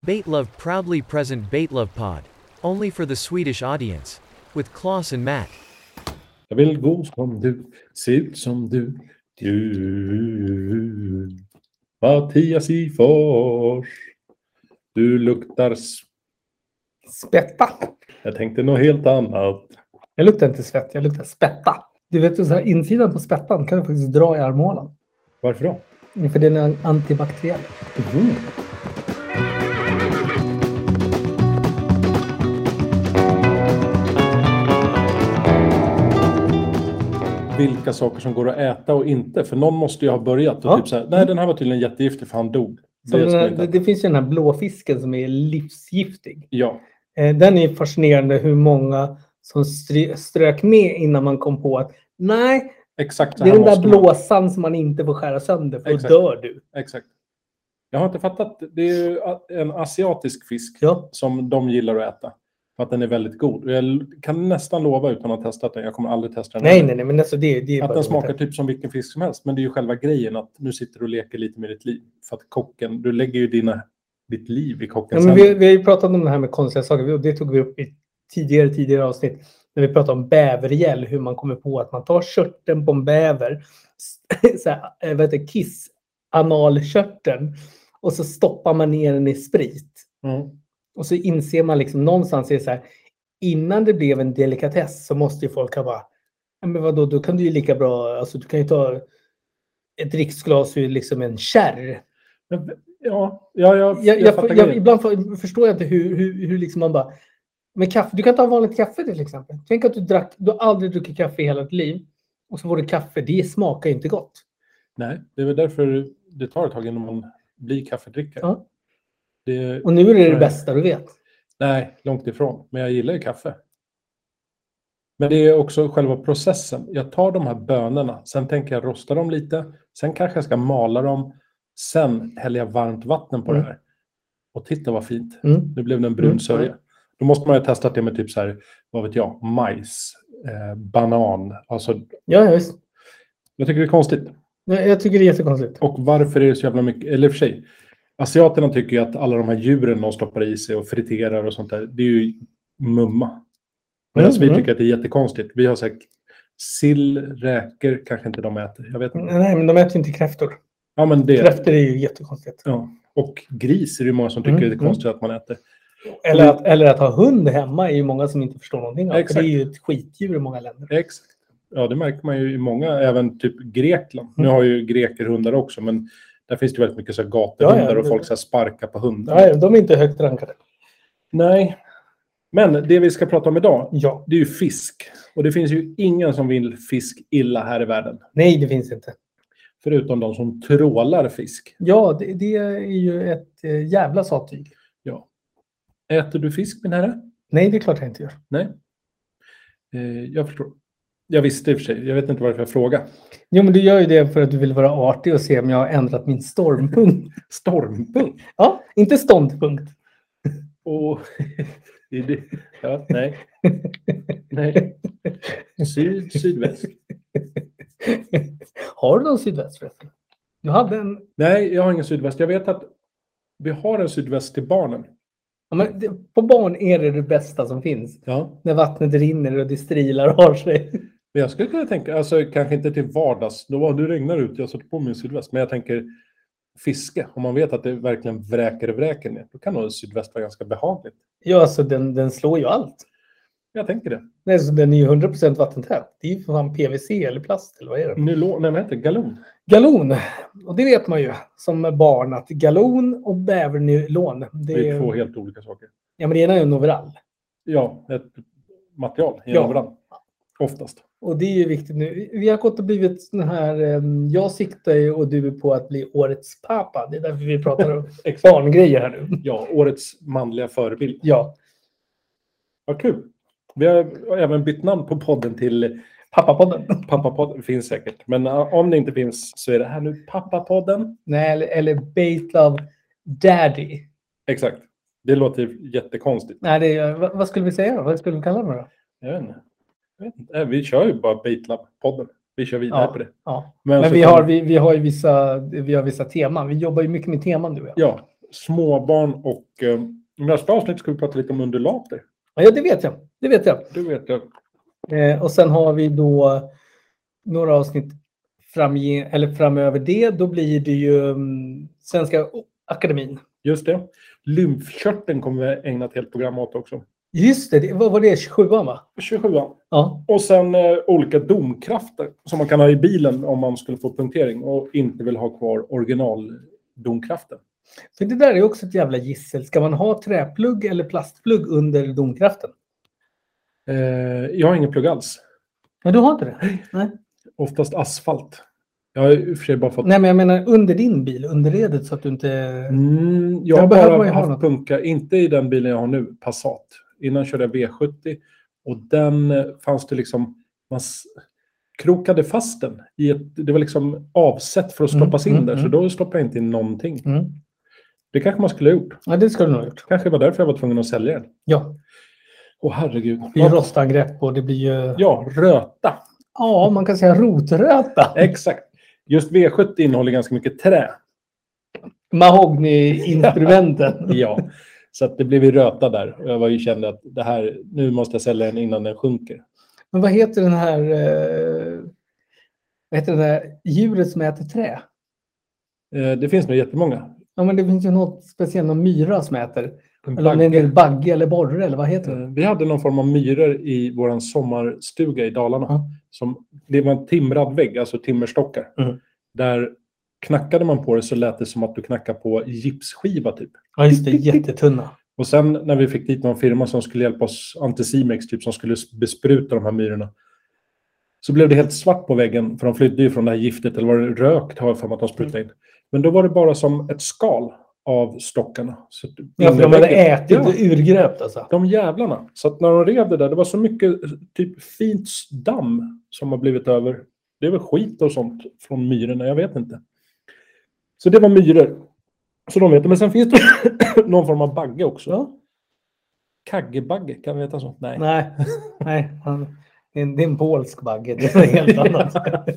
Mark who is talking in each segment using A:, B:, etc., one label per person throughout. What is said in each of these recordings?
A: Baitlove proudly present Baitlove Pod, only for the Swedish audience, with Klaus and Matt.
B: Jag vill gå som du, se ut som du. Du. Mattias i Fors. Du luktar... s-
C: Spätta.
B: Jag tänkte något helt annat.
C: Jag luktar inte svett, jag luktar spätta. Du vet ju så här, insidan på spettan kan du faktiskt dra i armhålan.
B: Varför då?
C: För den är antibakteriell. Mm.
B: Mhm. Vilka saker som går att äta och inte. För någon måste ju ha börjat. Och
C: Ja.
B: typ så här, Nej, den här var tydligen jättegiftig för han dog. Det
C: Som den
B: ska
C: här,
B: jag inte
C: det,
B: äta.
C: det finns ju den här blåfisken som är livsgiftig.
B: Ja,
C: Eh, den är fascinerande hur många som stry, strök med innan man kom på att nej,
B: exakt så
C: det är
B: här
C: den där
B: måste man.
C: blåsan som man inte får skära sönder för då
B: Exakt.
C: dör du.
B: Exakt. Jag har inte fattat. Det är ju a- en asiatisk fisk
C: Ja.
B: som de gillar att äta. För att den är väldigt god. Och Jag l- kan nästan lova utan att ha testat den. Jag kommer aldrig testa den.
C: Nej, nej, nej, men alltså det, det är
B: Att
C: bara
B: den
C: roligt.
B: smakar typ som vilken fisk som helst. Men det är ju själva grejen att nu sitter du och leker lite med ditt liv. För att kocken, du lägger ju dina, ditt liv i
C: Ja,
B: kockens
C: men vi,
B: händer.
C: vi har ju pratat om det här med konstiga saker. Vi- och Det tog vi upp i tidigare, tidigare avsnitt. När vi pratade om bävergäll. Hur man kommer på att man tar körteln på en bäver. s- Så här, eh, vad heter det, kiss analkörteln. Och så stoppar man ner den i sprit.
B: Mm.
C: Och så inser man liksom någonstans är det så här. Innan det blev en delikatess så måste ju folk ha bara. "Ja, Men vadå, då kan du ju lika bra. Alltså du kan ju ta ett dricksglas ur liksom en kärr
B: Men, ja, ja, jag,
C: jag,
B: jag,
C: jag,
B: fattar
C: jag,
B: grejen.
C: ibland för- förstår jag inte hur, hur, hur liksom man bara... Men kaffe, du kan ta vanligt kaffe till exempel. Tänk att du, drack, du har aldrig druckit kaffe i hela ditt liv. Och så får du kaffe. Det smakar ju inte gott.
B: Nej, det är väl därför det tar ett tag innan man blir kaffedrickare.
C: Ja.
B: Det,
C: Och nu är det
B: Nej.
C: det bästa du vet.
B: Nej, långt ifrån. Men jag gillar ju kaffe. Men det är också själva processen. Jag tar de här bönorna, sen tänker jag rosta dem lite. Sen kanske jag ska mala dem. Sen häller jag varmt vatten på
C: Mm.
B: det här. Och titta vad fint.
C: Mm.
B: Nu blev det en brun
C: Mm.
B: sörja. Då måste man ju ha testat det med typ så här, vad vet jag, majs, eh, banan. Alltså,
C: Ja, ja, visst.
B: jag tycker det är konstigt.
C: Jag, jag tycker det är jättekonstigt.
B: Och varför är det så jävla mycket, eller i och för sig, asiaterna tycker ju att alla de här djuren de stoppar i sig och friterar och sånt där, det är ju mumma. Medan
C: Mm,
B: vi
C: mm.
B: tycker att det är jättekonstigt. Vi har sagt sill, räkor, kanske inte de äter. Jag vet inte.
C: Nej, men de äter ju inte kräftor.
B: Ja, men det.
C: Kräftor är ju jättekonstigt.
B: Ja. Och gris är det ju många som tycker
C: Mm,
B: det är konstigt att man äter.
C: Eller att, eller att ha hund hemma är ju många som inte förstår någonting av. För
B: Exakt.
C: det är ju ett skitdjur i många länder.
B: Exakt. Ja, det märker man ju i många, även typ Grekland. Nu
C: Mm.
B: har ju greker hundar också, men där finns det väldigt mycket så här gatuhundar
C: Ja, ja,
B: och
C: det-
B: folk så här sparkar på hundar.
C: Nej, de är inte högt rankade.
B: Nej. Men det vi ska prata om idag,
C: Ja.
B: Det är ju fisk. Och det finns ju ingen som vill fisk illa här i världen.
C: Nej, det finns inte.
B: Förutom de som trålar fisk.
C: Ja, det, det är ju ett eh, jävla sattyg.
B: Ja. Äter du fisk, min herre?
C: Nej, det är klart jag inte gör.
B: Nej. Eh, jag förstår. Jag visste i och för sig. Jag vet inte varför jag frågade.
C: Jo, men du gör ju det för att du vill vara artig och se om jag har ändrat min stormpunkt.
B: Stormpunkt?
C: Ja, inte ståndpunkt.
B: Och... det är det. ja, nej. Nej. Syd, sydväst.
C: Har du någon sydväst förresten? Du hade en...
B: Nej, jag har ingen sydväst. Jag vet att vi har en sydväst till barnen.
C: Ja, men det, på barn är det det bästa som finns.
B: Ja.
C: När vattnet rinner och det strilar och har sig.
B: Men jag skulle kunna tänka, alltså kanske inte till vardags, då var det regnar ut, jag sätter på mig en sydväst. Men jag tänker fiske, om man vet att det verkligen vräker och vräker ner, då kan nog en sydväst vara ganska behagligt.
C: Ja, alltså den, den slår ju allt.
B: Jag tänker det.
C: Nej, så den är ju 100% vattentät. Det är ju för fan PVC eller plast eller vad är det?
B: Nylon, nej vad heter det? Galon?
C: Galon. Och det vet man ju som barn att galon och bävernylon.
B: Det är
C: Det,
B: ju två helt olika saker.
C: ja, men det ena är en overall.
B: Ja, ett material i
C: Ja.
B: ja. varandra. Oftast.
C: Och det är ju viktigt nu. Vi har gått och blivit den här... eh, Jag siktar ju och du är på att bli årets pappa. Det är därför vi pratar om barngrejer här nu.
B: Ja, årets manliga förebild.
C: Ja,
B: Vad kul! Vi har även bytt namn på podden till
C: pappapodden.
B: Pappapodden. Finns säkert, men uh, om det inte finns så är det här nu Pappapodden.
C: Nej, eller, eller Bait Love Daddy.
B: Exakt. Det låter ju jättekonstigt.
C: Nej, det är, vad, vad skulle vi säga då? Vad skulle vi kalla den då?
B: Jag vet inte. Jag vet inte. Nej, Vi kör ju bara Baitlab-podden. Vi kör vidare
C: Ja.
B: på det.
C: Ja.
B: Men,
C: Men
B: så
C: vi
B: kan-
C: har, vi, vi har ju vissa, vi har vissa teman. Vi jobbar ju mycket med teman du och jag.
B: Ja, småbarn och eh, i nästa avsnitt ska vi prata lite om undulater.
C: Ja, det vet jag. Det vet jag.
B: Det vet jag.
C: Eh, och sen har vi då några avsnitt framge- eller framöver det. Då blir det ju mm, Svenska Akademin.
B: Just det. Lymfkörteln kommer vi ägna ett helt program åt också.
C: Just det, det vad var det? 27 va?
B: 27
C: Ja.
B: Och sen eh, olika domkrafter som man kan ha i bilen om man skulle få punktering och inte vill ha kvar originaldomkraften.
C: För det där är också ett jävla gissel. Ska man ha träplugg eller plastplugg under domkraften?
B: Eh, jag har ingen plugg alls.
C: Men du har inte det? Nej.
B: Oftast asfalt. Jag har i och för sig bara fått...
C: Nej, men jag menar under din bil, under redet så att du inte...
B: Mm, jag har
C: Där behöver
B: bara
C: man ju ha
B: haft
C: något.
B: punka, inte i den bilen jag har nu, Passat. Innan körde jag V70 och den eh, fanns det liksom, man s- krokade fast den. I ett, det var liksom avsett för att
C: Mm,
B: stoppas in
C: mm,
B: där, så
C: mm.
B: då stoppade jag inte in någonting.
C: Mm.
B: Det kanske man skulle ha gjort.
C: Ja, det ska du nog ha gjort.
B: Kanske var därför jag var tvungen att sälja den.
C: Ja,
B: Åh herregud.
C: det blir rostangrepp och det blir ju...
B: Ja, röta.
C: Ja, man kan säga rotröta.
B: Exakt. Just V70 innehåller ganska mycket trä.
C: Mahogny-instrumenten.
B: Ja. Så att det blev ju röta där. Och jag var ju kände att det här, nu måste jag sälja den innan den sjunker.
C: Men vad heter den här... Eh, vad heter det där djuret som äter trä?
B: Eh, Det finns nog jättemånga.
C: Ja, men det finns ju något speciellt, någon myra som äter.
B: En
C: Eller om det är en
B: bagge.
C: del bagge eller borre eller vad heter det?
B: Eh, Vi hade någon form av myror i vår sommarstuga i Dalarna.
C: Ja.
B: Som, det var en timrad vägg, alltså timmerstockar.
C: Mm.
B: Där knackade man på det så lät det som att du knackar på gipsskiva typ.
C: Ja, just det. Jättetunna.
B: Och sen när vi fick dit någon firma som skulle hjälpa oss, Anticimex typ, som skulle bespruta de här myrorna. Så blev det helt svart på väggen, för de flydde ju från det här giftet, eller var det rökt har jag för mig att de sprutade
C: Mm.
B: in. Men då var det bara som ett skal av stockarna. Så att
C: Ja, för de hade
B: innerväggen-
C: ätit och
B: Ja,
C: urgröpt alltså.
B: de jävlarna. Så att när de rev det där, det var så mycket eh, typ fint damm som har blivit över. Det är väl skit och sånt från myrorna, jag vet inte. Så det var myror. Så de vet det. Men sen finns det någon form av bagge också.
C: Ja.
B: Kaggebagge, kan vi heta så? Nej.
C: Nej, nej. Han, det är en- det är en polsk bagge. Det är något helt annat.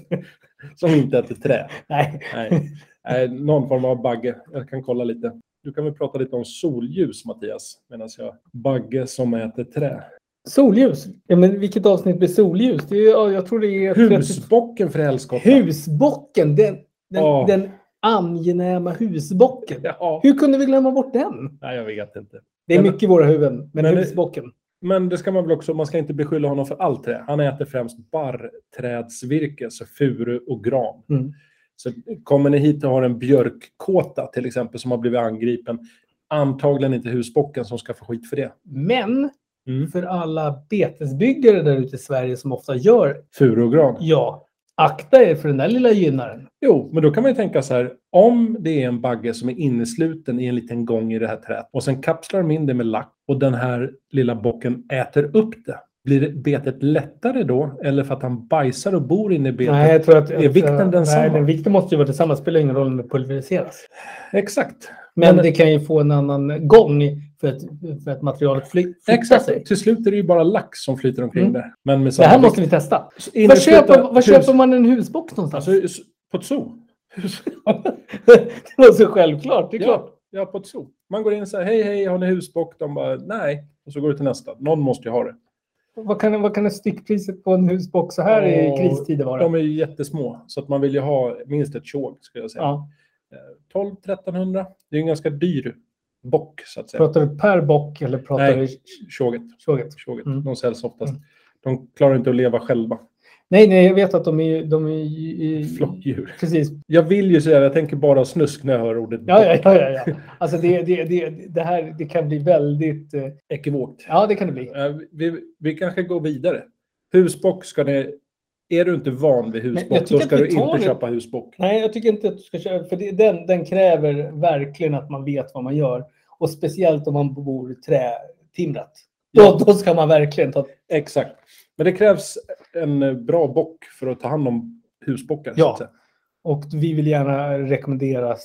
B: Som inte äter trä.
C: nej.
B: Nej. Nej, någon form av bagge. Jag kan kolla lite. Du kan väl prata lite om solljus, Mattias, medan jag... Bagge som äter trä.
C: Solljus. Ja, men vilket avsnitt blir solljus? Det är, ju- ja, jag tror det är...
B: Husbocken för helskotta.
C: Husbocken. Den, den,
B: Ja.
C: den angenäma husbocken.
B: Ja.
C: Hur kunde vi glömma bort den?
B: Nej, jag vet inte.
C: Det är
B: Men-
C: mycket i våra huvuden, men,
B: Men det-
C: husbocken.
B: Men det ska man väl också, man ska inte beskylla honom för allt trä. Han äter främst barrträdsvirke, så furu och gran.
C: Mm.
B: Så kommer ni hit och har en björkkåta till exempel som har blivit angripen, antagligen inte husbocken som ska få skit för det.
C: Men
B: Mm.
C: för alla betesbyggare där ute i Sverige som ofta gör,
B: Furu och gran.
C: ja, akta er för den där lilla gynnaren.
B: Jo, men då kan man ju tänka så här. Om det är en bagge som är innesluten i en liten gång i det här träet och sen kapslar de in det med lack och den här lilla bocken äter upp det. Blir det betet lättare då? Eller för att han bajsar och bor inne i betet?
C: Nej, jag tror att... eh,
B: Är vikten densamma?
C: Nej, den vikten måste ju vara densamma. Det spelar ingen roll om det pulveriseras.
B: Exakt.
C: Men,
B: Men-
C: det kan ju få en annan gång för att, för att materialet fly, flyttar sig.
B: Exakt. Till slut är det ju bara lack som flyter omkring
C: Mm.
B: där. Men med
C: Det
B: samma
C: här
B: vikt.
C: måste vi testa.
B: Så
C: Var
B: inneslutna
C: köper, var
B: hus-
C: köper man en husbox någonstans?
B: Alltså, s- på ett zoo.
C: det var så självklart. Det är klart.
B: Ja, ja, på ett zoo. Man går in och säger hej, hej, har ni husbock? De bara nej. Och så går du till nästa. Någon måste ju ha det.
C: Vad kan, vad kan styckpriset på en husbox så här i
B: Åh,
C: kristider vara?
B: De är ju jättesmå, så att man vill ju ha minst ett tjog, skulle jag säga.
C: Ja.
B: 12-1300. Det är en ganska dyr bock, så att säga.
C: Pratar du per bock eller pratar
B: Nej.
C: du
B: Tjoget.
C: tjoget?
B: tjoget.
C: Mm.
B: De säljs oftast.
C: Mm.
B: De klarar inte att leva själva.
C: Nej, nej, jag vet att de är... De är i,
B: Flockdjur.
C: precis.
B: Jag vill ju säga, jag tänker bara snusk när jag hör ordet
C: Ja,
B: bock.
C: ja, ja. ja, ja. Alltså det, det, det, det här det kan bli väldigt... eh,
B: Ekivokt.
C: Ja, det kan det bli.
B: Eh, Vi, vi kanske går vidare. Husbock ska ni... Är du inte van vid
C: Men jag
B: husbock, då
C: tycker
B: ska
C: att
B: du
C: vi tar
B: inte
C: det.
B: köpa husbock.
C: Nej, jag tycker inte att du ska köra. För det, den, den kräver verkligen att man vet vad man gör. Och speciellt om man bor trätimrat.
B: Ja.
C: Då, då ska man verkligen ta...
B: Exakt. Men det krävs en eh, bra bock för att ta hand om husbockar. så
C: Ja.
B: att säga.
C: Och vi vill gärna rekommendera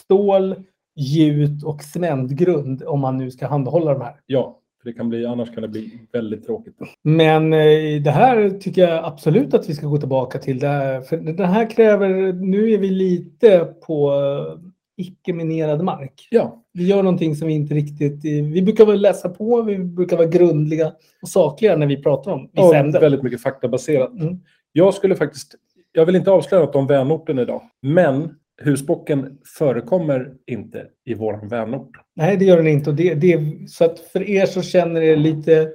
C: stål, gjut och cementgrund om man nu ska handhålla de här.
B: ja för det kan bli, annars kan det bli väldigt tråkigt.
C: Men eh, det här tycker jag absolut att vi ska gå tillbaka till. Det här, för det här kräver, nu är vi lite på eh, icke-minerad mark.
B: Ja,
C: Vi gör någonting som vi inte riktigt... eh, Vi brukar väl läsa på, vi brukar vara grundliga och sakliga när vi pratar om vissa
B: och
C: ämnen.
B: väldigt mycket faktabaserat.
C: Mm.
B: Jag skulle faktiskt... Jag vill inte avslöja något om vänorten idag, men husbocken förekommer inte i vår vänort.
C: Nej, det gör den inte. Och det, det, så att för er så känner er lite...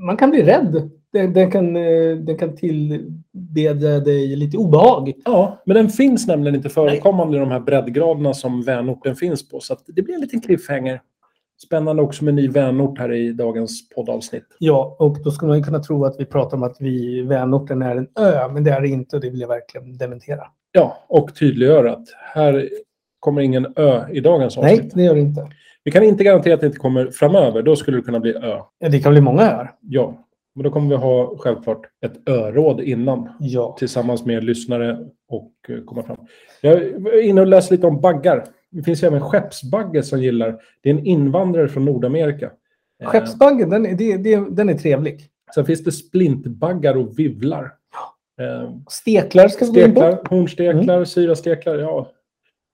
C: Man kan bli rädd. Den, den, kan, eh, den kan tillbedja dig lite obehag.
B: Ja, men den finns nämligen inte förekommande i de här breddgraderna som vänorten finns på. Så att det blir en liten cliffhanger. Spännande också med ny vänort här i dagens poddavsnitt.
C: Ja, och då skulle man ju kunna tro att vi pratar om att vi vänorten är en ö, men det är det inte och det vill jag verkligen dementera.
B: Ja, och tydliggöra att här kommer ingen ö i dagens avsnitt.
C: Nej, det gör det inte.
B: Vi kan inte garantera att det inte kommer framöver. Då skulle det kunna bli ö.
C: Ja, Det kan bli många öar.
B: Ja, men då kommer vi ha självklart ett öråd innan
C: Ja.
B: tillsammans med lyssnare och eh, komma fram. Jag är inne och läser lite om baggar. Det finns ju även skeppsbagge som gillar. Det är en invandrare från Nordamerika. Eh,
C: Skeppsbaggen, den, är- det, det, den är trevlig.
B: Sen finns det splintbaggar och vivlar. Eh,
C: Steklar ska vi gå in på.
B: Steklar, hornsteklar,
C: Mm.
B: syrasteklar. Ja.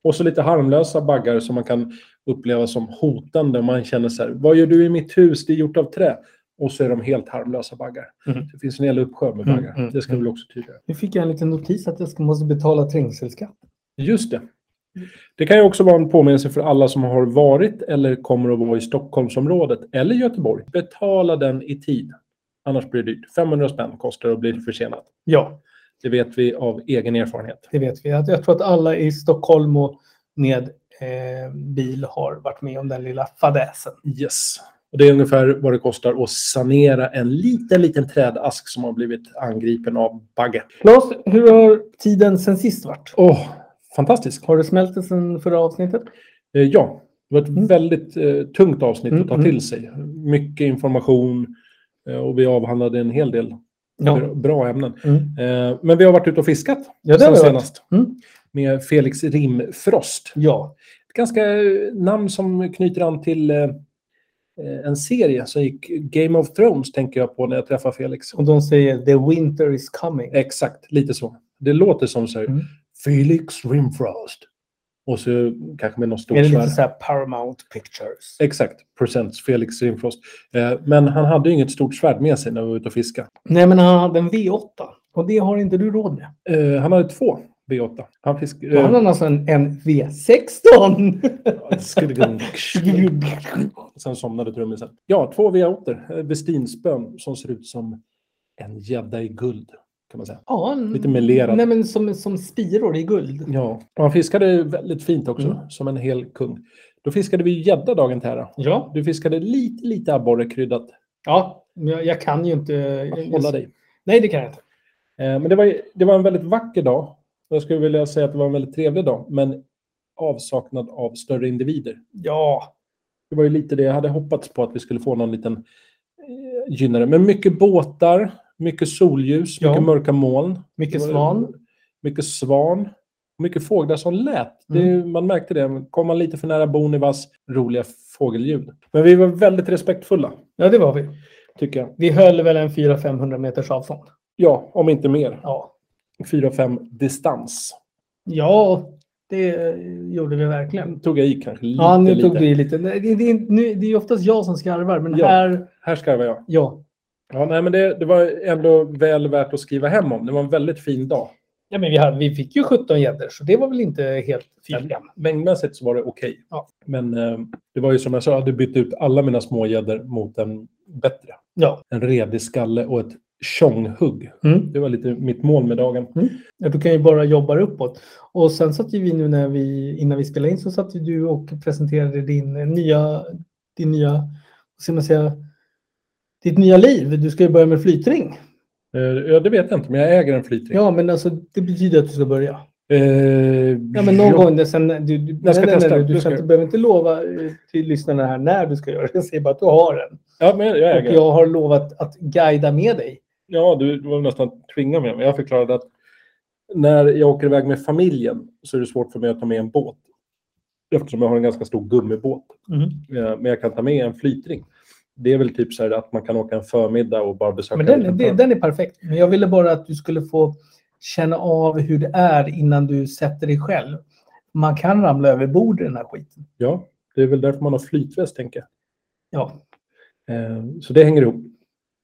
B: Och så lite harmlösa baggar som man kan uppleva som hotande. Man känner så här, vad gör du i mitt hus? Det är gjort av trä. Och så är de helt harmlösa baggar.
C: Mm.
B: Det finns en hel uppsjö med
C: Mm,
B: baggar.
C: mm,
B: Det ska vi väl också tydliggöra.
C: Nu fick jag en liten notis att jag ska, måste betala trängselskatt.
B: Just det. Det kan ju också vara en påminnelse för alla som har varit eller kommer att vara i Stockholmsområdet eller Göteborg. Betala den i tid. Annars blir det dyrt. 500 spänn kostar det och blir försenat.
C: Ja,
B: Det vet vi av egen erfarenhet.
C: det vet vi. Jag jag tror att alla i Stockholm och med eh, bil har varit med om den lilla fadäsen.
B: Yes. Och det är ungefär vad det kostar att sanera en liten, liten trädask som har blivit angripen av bagge.
C: Claes, hur har tiden sen sist varit?
B: Åh, Oh, fantastiskt.
C: Har det smält det sen förra avsnittet?
B: Eh, ja, det var ett väldigt eh, tungt avsnitt
C: Mm,
B: att ta
C: mm.
B: till sig. Mycket information eh, och vi avhandlade en hel del bra, bra ämnen.
C: Mm.
B: Eh, men vi har varit ute och fiskat
C: Ja, det
B: sen
C: har vi varit.
B: senast.
C: Mm.
B: Med Felix Rimfrost.
C: Ja,
B: Ett ganska eh, namn som knyter an till eh, eh, en serie som gick Game of Thrones tänker jag på när jag träffar Felix.
C: och de säger the winter is coming.
B: Exakt, lite så. Det låter som så här,
C: Mm.
B: Felix Rimfrost. Och så kanske med något
C: är
B: stort
C: det
B: svärd.
C: lite så här Paramount Pictures?
B: Exakt, presents Felix Rimfrost. Eh, men han hade ju inget stort svärd med sig när vi var ute och fiskade.
C: Nej, men han hade en V8 och det har inte du råd med.
B: Eh, han hade två V8. Han fisk...
C: Då hade
B: Eh,
C: han alltså en, en V16!
B: skulle gå- eh, Sen somnade trummisen. Ja, två V8. Eh, Vestinspön som ser ut som en gädda i guld. Kan man säga.
C: ja, en-
B: Lite melerad.
C: Nej, men som, som spiror i guld.
B: Ja, och han fiskade väldigt fint också,
C: Mm.
B: som en hel kung. Då fiskade vi gädda dagen till ära.
C: Ja,
B: Du fiskade lite, lite abborre kryddat.
C: ja men jag, jag kan ju inte...
B: Att hålla dig.
C: Nej, det kan jag inte.
B: Eh, Men det var, det var en väldigt vacker dag. Jag skulle vilja säga att det var en väldigt trevlig dag, men avsaknad av större individer.
C: Ja,
B: Det var ju lite det jag hade hoppats på, att vi skulle få någon liten eh, gynnare. Men mycket båtar, mycket solljus,
C: Ja.
B: mycket mörka moln.
C: mycket
B: Det var-
C: svan.
B: Mycket svan. Mycket fåglar som lät. Det,
C: Mm.
B: man märkte det. Kom man lite för nära Bonivas roliga fågelljud. Men vi var väldigt respektfulla,
C: Ja, det var vi.
B: tycker jag.
C: Vi höll väl en 400-500 meters avstånd.
B: Ja, om inte mer.
C: Ja.
B: 4-5 distans.
C: ja, det eh, gjorde vi verkligen.
B: Tog jag i kanske lite.
C: Ja, nu
B: lite.
C: tog du i lite. Nej, Det, det, är- nu, det är ju oftast jag som skarvar, men
B: Ja.
C: här...
B: Här skarvar jag.
C: Ja.
B: Ja, nej, men det, det var ändå väl värt att skriva hem om. Det var en väldigt fin dag.
C: ja men vi, hade, vi fick ju 17 gäddor, så det var väl inte helt fel.
B: Mängdmässigt så var det okej.
C: Ja.
B: Men eh, det var ju som jag sa, jag hade bytt ut alla mina små gäddor mot en bättre.
C: Ja.
B: En redig skalle och ett tjonghugg.
C: Mm.
B: Det var lite mitt mål med dagen.
C: Ja, Du kan ju bara jobba uppåt. Och sen satt ju vi nu när vi, innan vi spelade in, så satt ju du och presenterade din eh, nya, din nya, vad ska man säga, ditt nya liv. Du ska ju börja med flytring.
B: Eh, ja, det vet jag inte, men jag äger en flytring.
C: Ja, men alltså det betyder att du ska börja.
B: Eh,
C: Ja, men någon gång där sen, du, du,
B: ska
C: nej, nej,
B: testa.
C: nej, du,
B: Jag
C: ska,
B: ska-
C: du behöver inte lova eh, till lyssnarna här när du ska göra det. Jag säger bara att du har den.
B: Ja, men jag
C: Och
B: äger.
C: jag har lovat att guida med dig.
B: Ja, du du var nästan tvingad med mig. Jag förklarade att när jag åker iväg med familjen så är det svårt för mig att ta med en båt. Eftersom jag har en ganska stor gummibåt. Eh, men jag kan ta med en flytring. Det är väl typ så här att man kan åka en förmiddag och bara besöka...
C: Men
B: en
C: den,
B: liten
C: den, den är perfekt. Men jag ville bara att du skulle få känna av hur det är innan du sätter dig själv. Man kan ramla över bord i den här skiten.
B: Ja, det är väl därför man har flytväst, tänker jag.
C: Ja,
B: Eh, Så det hänger ihop.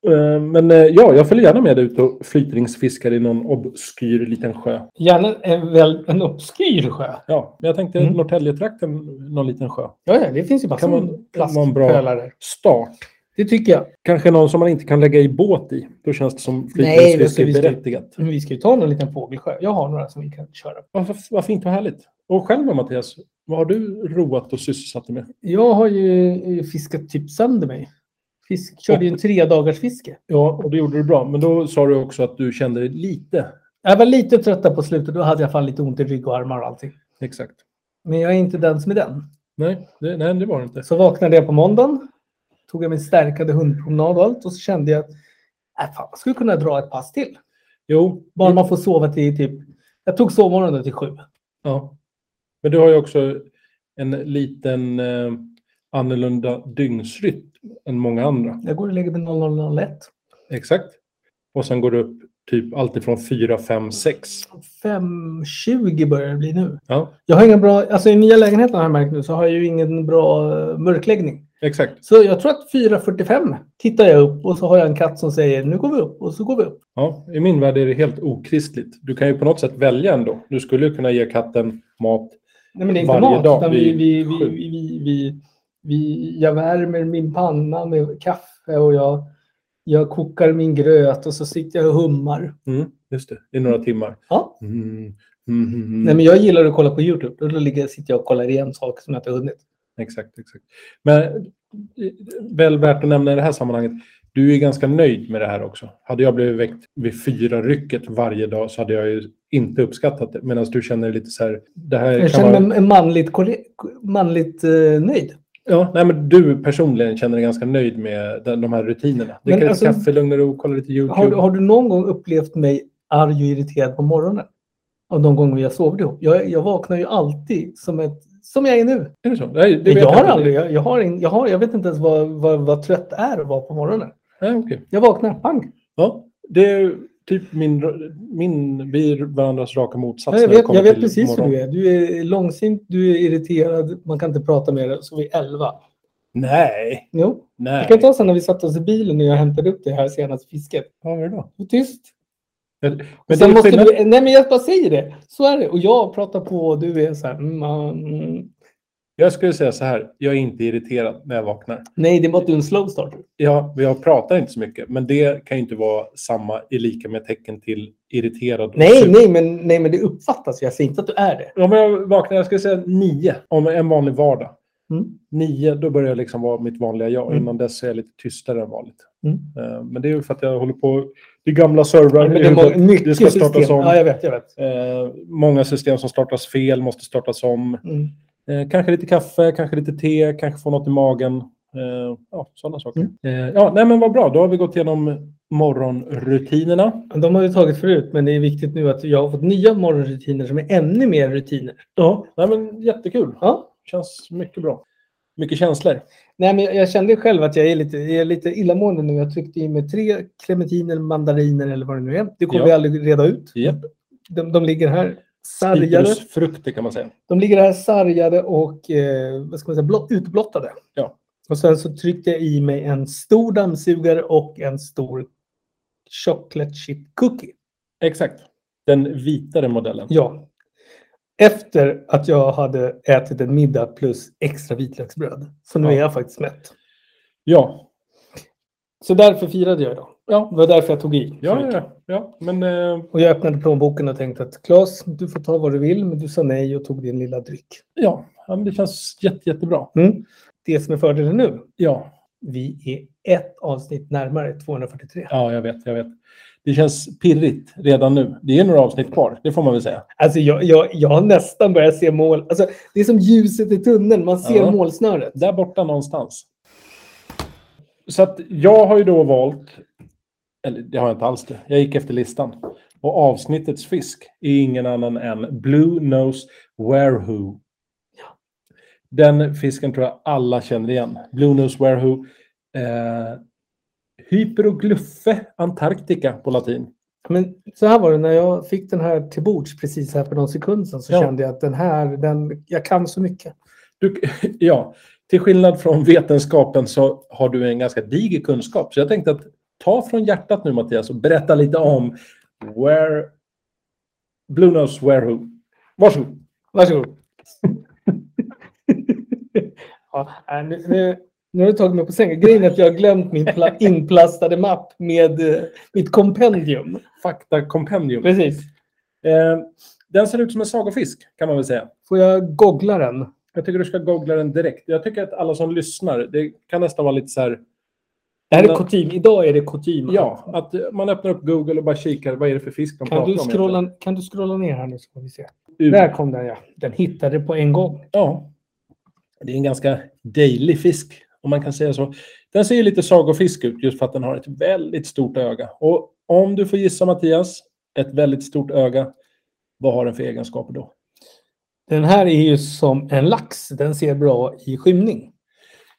B: Eh, Men eh, ja, jag följer gärna med dig ut och flytringsfiskar i någon obskyr liten sjö.
C: gärna en, väl, en obskyr sjö.
B: Ja, men jag tänkte
C: Mm.
B: Norrtäljetrakten, någon liten sjö.
C: Ja, ja, det finns ju massor
B: Kan man-
C: med
B: vara en bra-
C: plastpölare.
B: Start.
C: Det tycker jag.
B: Kanske någon som man inte kan lägga i båt i. Då känns det som
C: det ska
B: flytringsfiske
C: vi
B: är
C: ska-
B: berättigat.
C: Men Vi ska ju ta någon liten fågelsjö. Jag har några som vi kan köra.
B: Varför, vad fint och härligt. Och själv då, Mattias? Vad har du roat och sysselsatt dig med?
C: Jag har ju eh, fiskat typ sönder mig. Fisk, körde ju en tre dagars fiske.
B: Ja, och det gjorde du bra. Men då sa du också att du kände dig lite.
C: Jag var lite trött på slutet. Då hade jag fan lite ont i rygg och armar och allting.
B: Exakt.
C: Men jag är inte den som är den.
B: Nej, det, nej, det var det inte.
C: Så vaknade jag på måndagen. Tog jag min stärkade hundpromenad och allt. Och så kände jag att äh, fan, jag skulle kunna dra ett pass till.
B: Jo,
C: Bara man får sova till typ... Jag tog sovmorgonen till sju.
B: Ja. Men du har ju också en liten eh, annorlunda dygnsrytm än många andra.
C: Jag går och lägger mig 0001.
B: Exakt. Och sen går du upp typ alltifrån 4, 5, 6.
C: 5.20 börjar det bli nu.
B: Ja,
C: Jag har ingen bra, alltså i nya lägenheten har jag märkt nu så har jag ju ingen bra eh, mörkläggning.
B: exakt.
C: Så jag tror att 4.45 tittar jag upp och så har jag en katt som säger nu går vi upp och så går vi upp.
B: Ja, I min värld är det helt okristligt. Du kan ju på något sätt välja ändå. Du skulle ju kunna ge katten mat.
C: Nej men det är inte
B: Varje
C: mat
B: dag
C: utan vi, vi,
B: vid
C: vi,
B: sju.
C: vi, vi, vi, vi, jag värmer min panna med kaffe och jag, jag kokar min gröt och så sitter jag och hummar.
B: Mm, just det, i några timmar.
C: Ja.
B: Mm, mm, mm, mm.
C: Nej men jag gillar att kolla på YouTube och då ligger, sitter jag och kollar igen saker som jag inte har hunnit.
B: Exakt, exakt. Men eh, väl värt att nämna i det här sammanhanget, du är ganska nöjd med det här också. Hade jag blivit väckt vid fyra rycket varje dag så hade jag ju inte uppskattat det. Medan du känner lite så här, det här
C: Jag
B: kan
C: känner
B: vara...
C: mig manligt, kolle- manligt eh, nöjd.
B: Ja, nej, men du personligen känner dig ganska nöjd med den- de här rutinerna.
C: Men
B: Dricka
C: alltså-
B: lite kaffe, lugn och ro, kolla lite YouTube.
C: Har, du- har du någon gång upplevt mig arg och irriterad på morgonen? Av de gånger vi har sovit ihop. Jag, jag vaknar ju alltid som, ett, som jag är nu.
B: Är det så? Nej, det
C: Jag,
B: vet
C: har
B: inte.
C: aldrig, jag, jag, har in, jag, har, jag vet inte ens vad, vad, vad trött är att vara på morgonen.
B: Nej, okej.
C: Jag vaknar, pang.
B: Ja, det är typ min, min, vi är varandras raka motsats.
C: Ja,
B: när
C: jag
B: det
C: vet,
B: kommer
C: jag vet
B: till
C: precis hur
B: morgon.
C: du är. Du är långsint, du är irriterad, man kan inte prata med dig. Så vi är elva.
B: Nej,
C: Jo.
B: nej.
C: Jag kan ta sen när vi satte oss i bilen och jag hämtade upp det här senaste fisket.
B: Vad var det då?
C: Du är Tyst.
B: Men
C: Men
B: det är
C: sen måste
B: skillnad-
C: vi, nej men jag bara säger det. Så är det. Och jag pratar på och du är så här. Mm, ja, mm.
B: Jag skulle säga så här, jag är inte irriterad när jag vaknar.
C: Nej, det var inte en slow start.
B: Jag, jag pratar inte så mycket, men det kan ju inte vara samma i lika med tecken till irriterad. och
C: Nej,
B: sur.
C: nej, men, nej, men det uppfattas. Jag säger inte att du är det.
B: Om jag vaknar, jag skulle säga nio, om en vanlig vardag.
C: Mm.
B: Nio, då börjar jag liksom vara mitt vanliga jag.
C: Mm.
B: Innan dess är jag lite tystare än vanligt.
C: Mm.
B: Eh, Men det är ju för att jag håller på... Det är gamla servrar.
C: Ja, men
B: i
C: det är
B: huvudet.
C: många, mycket
B: det ska startas
C: system.
B: om.
C: Ja, jag vet. Jag vet.
B: Eh, Många system som startas fel måste startas om.
C: Mm.
B: Eh, kanske lite kaffe, kanske lite te, kanske få något i magen. Eh, ja, sådana saker. Eh, ja, nej, men vad bra, då har vi gått igenom morgonrutinerna.
C: De har ju tagit förut, men det är viktigt nu att jag har fått nya morgonrutiner som är ännu mer rutiner.
B: Ja. Nej, men jättekul.
C: Ja.
B: Känns mycket bra. Mycket känslor.
C: Nej, men jag, jag kände själv att jag är lite, jag är lite illamående nu. Jag tryckte i mig tre clementiner, mandariner eller vad det nu är. Det kommer
B: Ja.
C: vi aldrig reda ut.
B: Japp.
C: De, de ligger här sargade.
B: Citrusfrukter kan man säga.
C: De ligger här sargade och eh, vad ska man säga, blå, utblottade.
B: Ja.
C: Och sen så tryckte jag i mig en stor dammsugare och en stor chocolate chip cookie.
B: Exakt. Den vitare modellen.
C: Ja. Efter att jag hade ätit en middag plus extra vitlöksbröd. Så nu
B: Ja.
C: är jag faktiskt mätt.
B: Ja.
C: Så därför firade jag idag.
B: Ja.
C: Det var därför jag tog i.
B: Ja, ja, ja, ja. Men eh,
C: Och jag öppnade plånboken och tänkte att Claes, du får ta vad du vill, men du sa nej och tog din lilla dryck.
B: ja. ja men det känns jätte, jättebra.
C: Mm. Det som är fördelen nu,
B: Ja.
C: vi är ett avsnitt närmare 243.
B: ja, jag vet, jag vet. Det känns pirrigt redan nu. Det är några avsnitt kvar, det får man väl säga.
C: Alltså jag, jag, jag har nästan börjat se mål. Alltså, det är som ljuset i tunneln. Man ser
B: Ja.
C: målsnöret.
B: Där borta någonstans. Så att jag har ju då valt, eller det har jag inte alls det, jag gick efter listan. Och avsnittets fisk är ingen annan än Blue Nose Werewho. Den fisken tror jag alla känner igen. Blue Nose Werewho. Eh, Hyperoglyphe Antarctica på latin.
C: Men så här var det, när jag fick den här till bords precis här för någon sekund sedan så
B: Ja.
C: kände jag att den här, den, jag kan så mycket.
B: Du, ja, till skillnad från vetenskapen så har du en ganska diger kunskap. Så jag tänkte att ta från hjärtat nu Mattias och berätta lite om where Blue Nose Where Who. Varsågod.
C: Varsågod. ja, äh, nu, nu, nu har du tagit mig på sängen. Grejen är att jag har glömt min pla- inplastade mapp med eh, mitt kompendium.
B: Faktakompendium. Eh,
C: Precis.
B: den ser ut som en sagofisk kan man väl säga.
C: Får jag googla den?
B: Jag tycker du ska googla den direkt. Jag tycker att alla som lyssnar, det kan nästan vara lite så här
C: Det här är
B: Men-
C: kutym. Idag är det kutym.
B: Ja, att eh, man öppnar upp Google och bara kikar. Vad är det för fisk de
C: Kan
B: pratar
C: du,
B: om?
C: scrolla, kan du scrolla ner här nu så får vi se.
B: egentligen?
C: Där kom den ja. Den hittade på en gång.
B: Ja. Det är en ganska dejlig fisk, om man kan säga så. Den ser ju lite sagofisk ut just för att den har ett väldigt stort öga. Och om du får gissa, Mattias, ett väldigt stort öga, vad har den för egenskaper då?
C: Den här är ju som en lax. Den ser bra i skymning.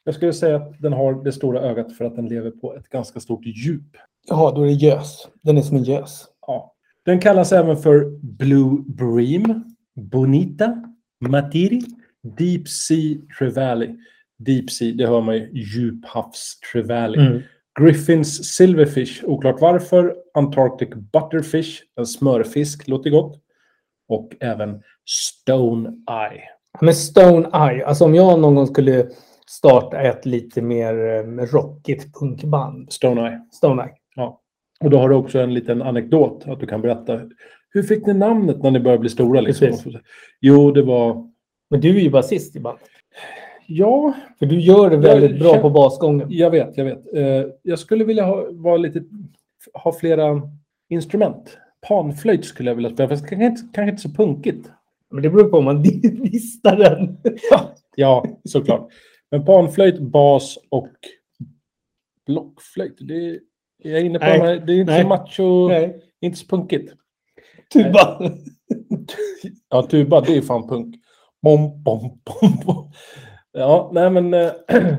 B: Jag skulle säga att den har det stora ögat för att den lever på ett ganska stort djup.
C: Jaha, då är det gös. Den är som en gös.
B: Ja. Den kallas även för Blue Bream, Bonita, Matiri, Deep Sea Trevally. Deep Sea, det hör man ju, djuphavs
C: Mm.
B: Trevally. Griffins Silverfish, oklart varför. Antarctic Butterfish, en smörfisk, låter gott. Och även Stone Eye.
C: Men Stone Eye. Alltså om jag någon gång skulle starta ett lite mer eh, rockigt punkband.
B: Stone Eye.
C: Stone Eye.
B: Ja. Och då har du också en liten anekdot att du kan berätta. Hur fick ni namnet när ni började bli stora? Liksom?
C: Precis.
B: Jo, det var...
C: Men du är ju basist i bandet.
B: Ja,
C: För du gör det väldigt
B: Jag
C: bra
B: känner-
C: på basgången.
B: jag vet, jag vet. Eh, jag skulle vilja ha, vara lite, ha flera instrument. Panflöjt skulle jag vilja spela, fast kanske inte, kanske inte så punkigt.
C: Men det beror på om man listar den.
B: Ja, såklart. Men panflöjt, bas och blockflöjt. Det är, jag är inne på
C: Nej.
B: de här, det är inte
C: Nej.
B: så macho,
C: Nej.
B: inte så punkigt.
C: Tuba.
B: Ja, tuba, det är fan punk. Bom, bom, bom, bom. Ja, nej men eh,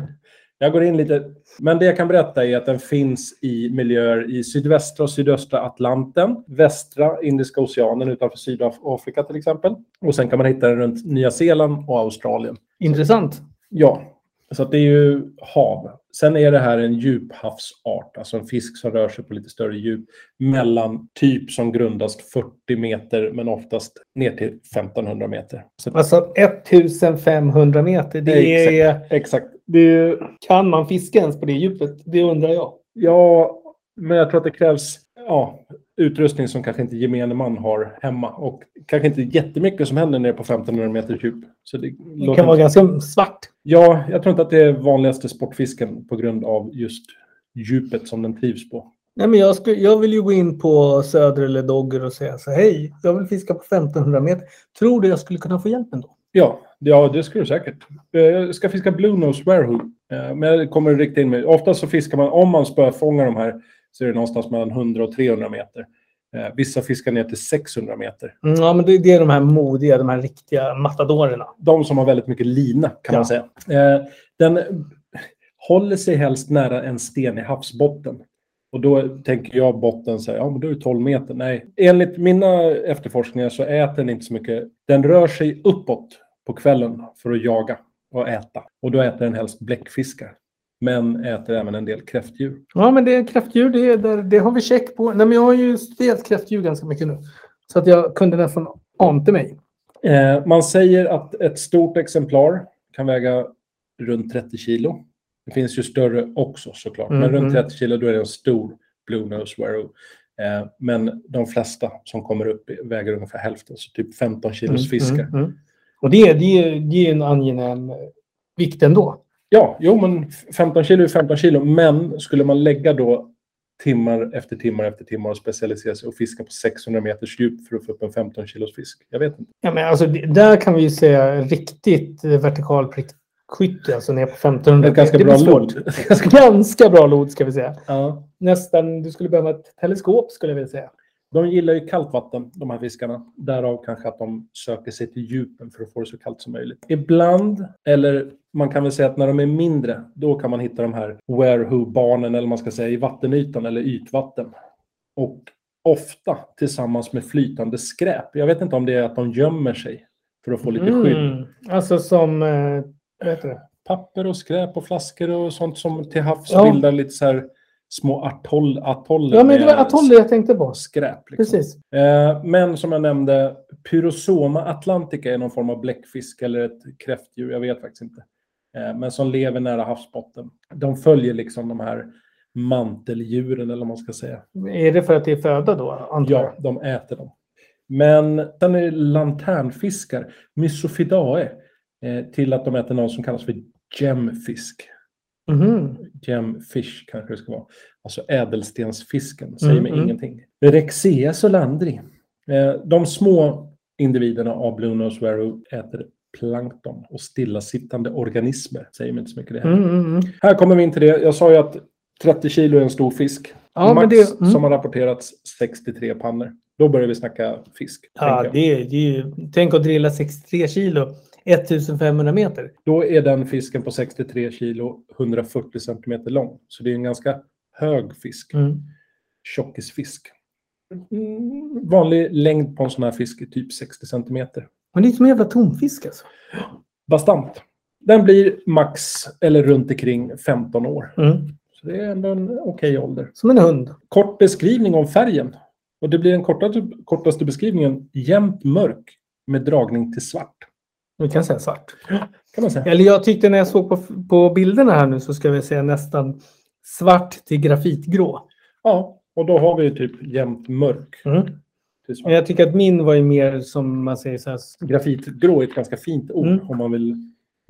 B: jag går in lite. Men det jag kan berätta är att den finns i miljöer i sydvästra och sydöstra Atlanten, västra Indiska oceanen utanför Sydafrika till exempel. Och sen kan man hitta den runt Nya Zeeland och Australien.
C: Intressant.
B: Ja, så att det är ju hav. Sen är det här en djuphavsart, alltså en fisk som rör sig på lite större djup. Mellan typ som grundast 40 meter, men oftast ner till 1500 meter. Så att,
C: Alltså 1500 meter. Det
B: Nej,
C: är,
B: exakt.
C: det är, kan man fiska ens på det djupet? Det undrar jag.
B: Ja, men jag tror att det krävs ja, utrustning som kanske inte gemene man har hemma. Och kanske inte jättemycket som händer nere på 1500 meter djup. Så det,
C: Det kan vara ganska svart.
B: Ja, jag tror inte att det är vanligaste sportfisken på grund av just djupet som den trivs på.
C: Nej, men jag, skulle, jag vill ju gå in på Söder eller Dogger och säga så här, hej, jag vill fiska på 1500 meter. Tror du jag skulle kunna få hjälp ändå?
B: Ja, ja det skulle du säkert. Eh, Jag ska fiska Blue Nose Warehoo. Men jag kommer att rikta in mig. Oftast så fiskar man, om man spöfångar de här, så är det någonstans mellan 100 och 300 meter. Eh, Vissa fiskar ner till 600 meter.
C: Mm, ja, men det, det är de här modiga, de här riktiga matadorerna.
B: De som har väldigt mycket lina, kan
C: Ja.
B: man säga. Eh, Den håller sig helst nära en sten i havsbotten. Och då tänker jag botten så här, ja men då är det 12 meter. Nej, enligt mina efterforskningar så äter den inte så mycket. Den rör sig uppåt på kvällen för att jaga och äta. Och då äter den helst bläckfiskar. Men äter även en del kräftdjur.
C: Ja, men det är kräftdjur, det, är där, det har vi check på. Nej, men jag har ju studerat kräftdjur ganska mycket nu. Så att jag kunde nästan ante mig.
B: Eh, man säger att ett stort exemplar kan väga runt 30 kilo. Det finns ju större också såklart, men
C: Mm,
B: runt
C: mm.
B: 30 kilo då är det en stor Blue Nose Warrow. Eh, men de flesta som kommer upp väger ungefär hälften, så typ 15 kilos fiskar.
C: Mm, mm. Och det, är- det, är- det är en angenäm eh, vikt ändå.
B: Ja, jo men f- 15 kilo är 15 kilo, men skulle man lägga då timmar efter timmar efter timmar och specialisera sig och fiska på 600 meters djup för att få upp en 15 kilos fisk? Jag vet inte.
C: Ja, men alltså, det- där kan vi ju säga riktigt eh, vertikal prickskytte, alltså ner på 1500.
B: Det är ett ganska
C: Det blir
B: bra
C: svårt.
B: lod. Ganska-
C: Ganska bra lod ska vi säga.
B: ja.
C: Nästan, du skulle behöva ett teleskop skulle jag vilja säga.
B: De gillar ju kallt vatten, de här fiskarna. Därav kanske att de söker sig till djupen för att få det så kallt som möjligt. Ibland, eller man kan väl säga att när de är mindre, då kan man hitta de här where who barnen eller vad man ska säga, i vattenytan eller ytvatten. Och ofta tillsammans med flytande skräp. Jag vet inte om det är att de gömmer sig för att få lite skydd.
C: Mm. Alltså som... Eh, vad heter det?
B: Papper och skräp och flaskor och sånt som till havs
C: Ja.
B: bildar lite så här små atoll, atoller
C: Ja, men det var
B: med
C: atoller jag tänkte på.
B: skräp. Liksom.
C: Precis.
B: Eh, Men som jag nämnde, Pyrosoma atlantica är någon form av bläckfisk eller ett kräftdjur, jag vet faktiskt inte. Eh, Men som lever nära havsbotten. De följer liksom de här manteldjuren eller vad man ska säga.
C: Är det för att det är föda då? Antar
B: Ja,
C: jag.
B: de äter dem. Men sen är det lanternfiskar, Mysophidae, eh, till att de äter någon som kallas för gemfisk.
C: Mhm.
B: Gemfish kanske det ska vara. Alltså ädelstensfisken, säger
C: Mm,
B: mig
C: mm.
B: ingenting. Rexea solandri. Eh, de små individerna av Blue Nose Warrow äter plankton och stillasittande organismer. Säger mig inte så mycket det.
C: Mm, mm, mm.
B: Här kommer vi in till det. Jag sa ju att 30 kilo är en stor fisk.
C: Ja,
B: Max
C: men det- mm.
B: som har rapporterats 63 pannor. Då börjar vi snacka fisk.
C: Ja,
B: tänker jag.
C: det är, det är ju, tänk att drilla 63 kilo, 1500 meter.
B: Då är den fisken på 63 kilo 140 centimeter lång. Så det är en ganska hög fisk.
C: Mm.
B: Tjockisfisk. Mm, vanlig längd på en sån här fisk är typ 60 centimeter.
C: Men det är som en jävla tonfisk alltså.
B: Bastant. Den blir max eller runt omkring 15 år.
C: Mm.
B: Så det är ändå en okej ålder.
C: Som en hund.
B: kort beskrivning om färgen. Och det blir den kortaste, kortaste beskrivningen jämnt mörk med dragning till svart.
C: Vi kan säga svart.
B: Kan man säga.
C: Eller jag tyckte när jag såg på, på bilderna här nu så ska vi säga nästan svart till grafitgrå.
B: Ja, och då har vi ju typ jämnt mörk
C: Mm.
B: till svart.
C: Men jag tycker att min var ju mer som man säger så här.
B: Grafitgrå är ett ganska fint ord
C: Mm.
B: om man vill
C: Ja,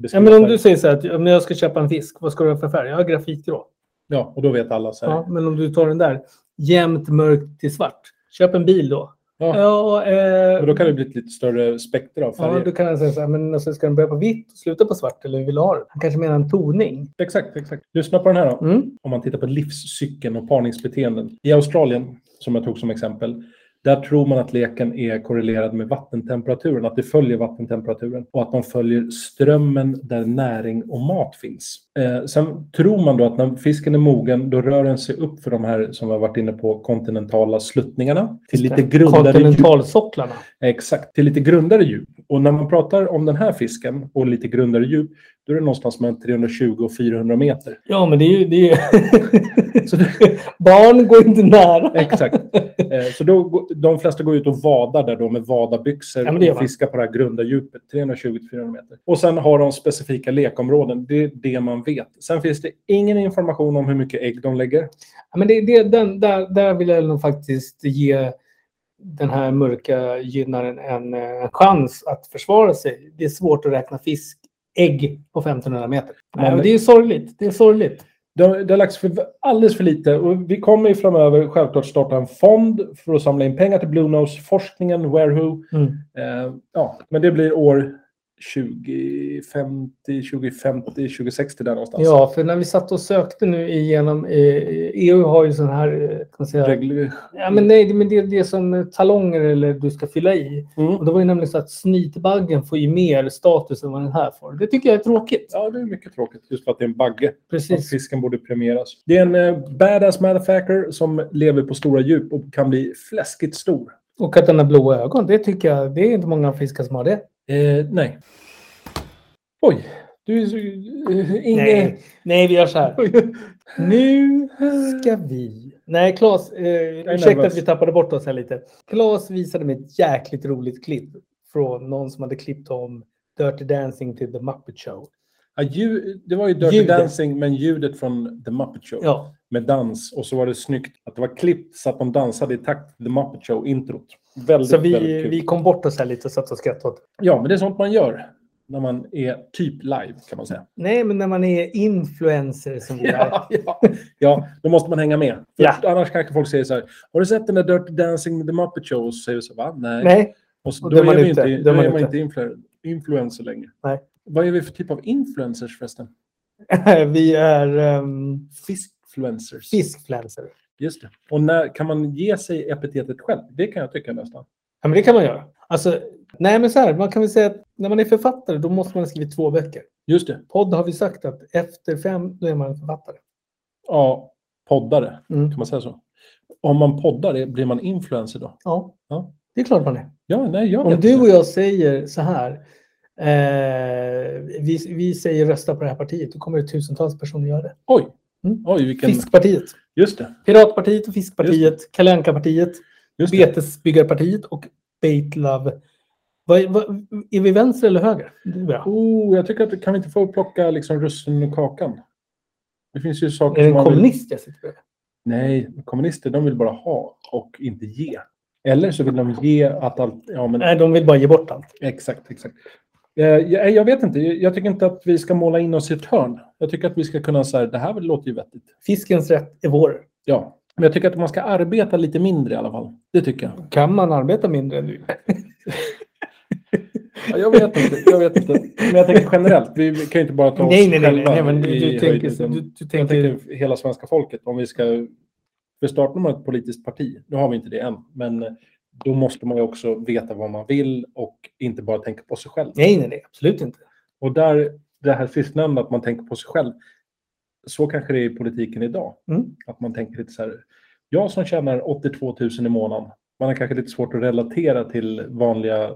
B: beskriva
C: men om
B: färg.
C: du säger så här att ja, men jag ska köpa en fisk, vad ska du ha för färg? Ja, grafitgrå.
B: Ja, och då vet alla så här.
C: Ja, men om du tar den där, jämnt mörkt till svart. Köp en bil då.
B: Ja.
C: Ja, eh,
B: Och då kan det bli ett lite större spektra av
C: Ja,
B: färger.
C: då kan han säga så här, men alltså, ska den börja på vitt och sluta på svart eller hur vill du ha det? Han kanske menar en toning.
B: Exakt, exakt. Lyssna på den här då.
C: Mm.
B: om man tittar på livscykeln och parningsbeteenden. I Australien, som jag tog som exempel, där tror man att leken är korrelerad med vattentemperaturen, att det följer vattentemperaturen och att de följer strömmen där näring och mat finns. Eh, sen tror man då att när fisken är mogen, då rör den sig upp för de här som vi har varit inne på, kontinentala sluttningarna till lite grundare djup.
C: Kontinentalsocklarna.
B: Exakt, till lite grundare djup. Och när man pratar om den här fisken och lite grundare djup, då är det någonstans mellan 320 och 400 meter.
C: Ja, men det är ju... Det är ju...
B: Så det,
C: Barn går inte nära.
B: Exakt. Eh, Så då, gå- de flesta går ut och vadar där då med vadarbyxor
C: Ja, men det gör
B: och
C: man.
B: fiskar på det här grunda djupet, 320-400 meter. Och sen har de specifika lekområden, det är det man vet. Sen finns det ingen information om hur mycket ägg de lägger.
C: Ja, men det, det, den, där, där vill jag nog faktiskt ge den här mörka gynnaren en, eh, chans att försvara sig. Det är svårt att räkna fisk ägg på 1500 meter. Nej,
B: Men-
C: men det är ju sorgligt. Det är sorgligt.
B: Det, det har lagts för, alldeles för lite och vi kommer ju framöver självklart starta en fond för att samla in pengar till Blue Nose-forskningen, Wherewho. Eh, ja, men det blir år 2050, 2050, 2060 där någonstans.
C: Ja, för när vi satt och sökte nu igenom... Eh, EU har ju sån här... eh, Kan man säga,
B: Regler-
C: Ja, men nej, det- men det, det är som talonger eller du ska fylla i.
B: Mm.
C: Och det var ju nämligen så att snytbaggen får ju mer status än vad den här får. Det tycker jag är tråkigt.
B: Ja, det är mycket tråkigt just för att det är en bagge. att
C: Precis.
B: fisken borde premieras. Det är en eh, badass motherfucker som lever på stora djup och kan bli fläskigt stor.
C: Och att den har blåa ögon, det tycker jag, det är inte många fiskar som har det.
B: Eh, nej. Oj, du är så... Eh, Inge...
C: nej, vi gör så här. Nu ska vi... Nej, Claes, eh,
B: är
C: ursäkta
B: nervös.
C: att vi tappade bort oss här lite. Claes visade mig ett jäkligt roligt klipp från någon som hade klippt om Dirty Dancing till The Muppet Show.
B: Ja, ljud, det var ju Dirty
C: Ljudet.
B: Dancing, men ljudet från The Muppet Show.
C: Ja,
B: Med dans. Och så var det snyggt att det var klippt så att de dansade i takt till The Muppet Show-introt. Väldigt,
C: så vi,
B: väldigt kul.
C: vi kom bort oss här lite och satt och skrattade åt
B: Ja, men det är sånt man gör när man är typ live, kan man säga.
C: Nej, men när man är influencer som vi är.
B: Ja, ja. ja, då måste man hänga med. För
C: Ja.
B: Annars kanske folk säger så här, har du sett den där Dirty Dancing med The Muppet Show? Och så säger vi så här, va? Nej.
C: Nej,
B: Och så,
C: Och
B: då är
C: då är man
B: vi
C: ute.
B: inte,
C: Då
B: då
C: är man
B: är man
C: ute.
B: inte influ- influencer längre.
C: Nej.
B: Vad är vi för typ av influencers förresten?
C: vi är um,
B: Fiskfluencers.
C: fiskfluencer.
B: Just det. Och när, kan man ge sig epitetet själv? Det kan jag tycka nästan.
C: Ja, men det kan man göra. Alltså, nej, men så här, man kan väl säga att när man är författare, då måste man ha skrivit två böcker.
B: Just det.
C: Podd har vi sagt att efter fem, då är man författare.
B: Ja, poddare.
C: Mm.
B: Kan man säga så? Om man poddar, det- blir man influencer då?
C: Ja,
B: Ja.
C: det är klart man är.
B: Ja, nej, jag
C: Om
B: vet
C: du
B: inte.
C: och jag säger så här. Eh, vi, vi säger rösta på det här partiet. Då kommer det tusentals personer göra det.
B: Oj!
C: Mm.
B: Oj, vilken...
C: Fiskpartiet.
B: Just det.
C: Piratpartiet och Fiskpartiet. Kalle Anka-partiet.
B: Just det.
C: Betesbyggarpartiet och Bait Love. Vad, vad, är vi vänster eller höger? Det är bra.
B: Oh, jag tycker att kan vi inte få plocka liksom russin och kakan? Det finns ju saker
C: Är det
B: som
C: en
B: man vill...
C: kommunist jag sitter med?
B: Nej, kommunister de vill bara ha och inte ge. Eller så vill de ge att allt... Ja, men
C: Nej, de vill bara ge bort allt.
B: exakt, exakt. Eh, jag, jag vet inte. Jag tycker inte att vi ska måla in oss i ett hörn. Jag tycker att vi ska kunna säga det här låter ju vettigt.
C: Fiskens rätt är vår.
B: Ja, men jag tycker att man ska arbeta lite mindre i alla fall. Det tycker jag.
C: Kan man arbeta mindre än du?
B: Ja, jag vet inte. Jag vet inte. Men jag tänker generellt. Vi vi kan ju inte bara ta oss
C: Nej, nej, nej. nej,
B: själva
C: nej men du,
B: i
C: du,
B: höjden,
C: tänker, så-
B: utan-
C: du, du
B: Jag
C: tänker...
B: tänker hela svenska folket, om vi ska... För startar man ett politiskt parti, nu har vi inte det än, men eh, då måste man ju också veta vad man vill och inte bara tänka på sig själv.
C: Nej, nej, nej. Absolut inte.
B: Och där, det här sistnämnda, att man tänker på sig själv, så kanske det är i politiken idag.
C: Mm.
B: Att man tänker lite så här, jag som tjänar 82 000 i månaden, man har kanske lite svårt att relatera till vanliga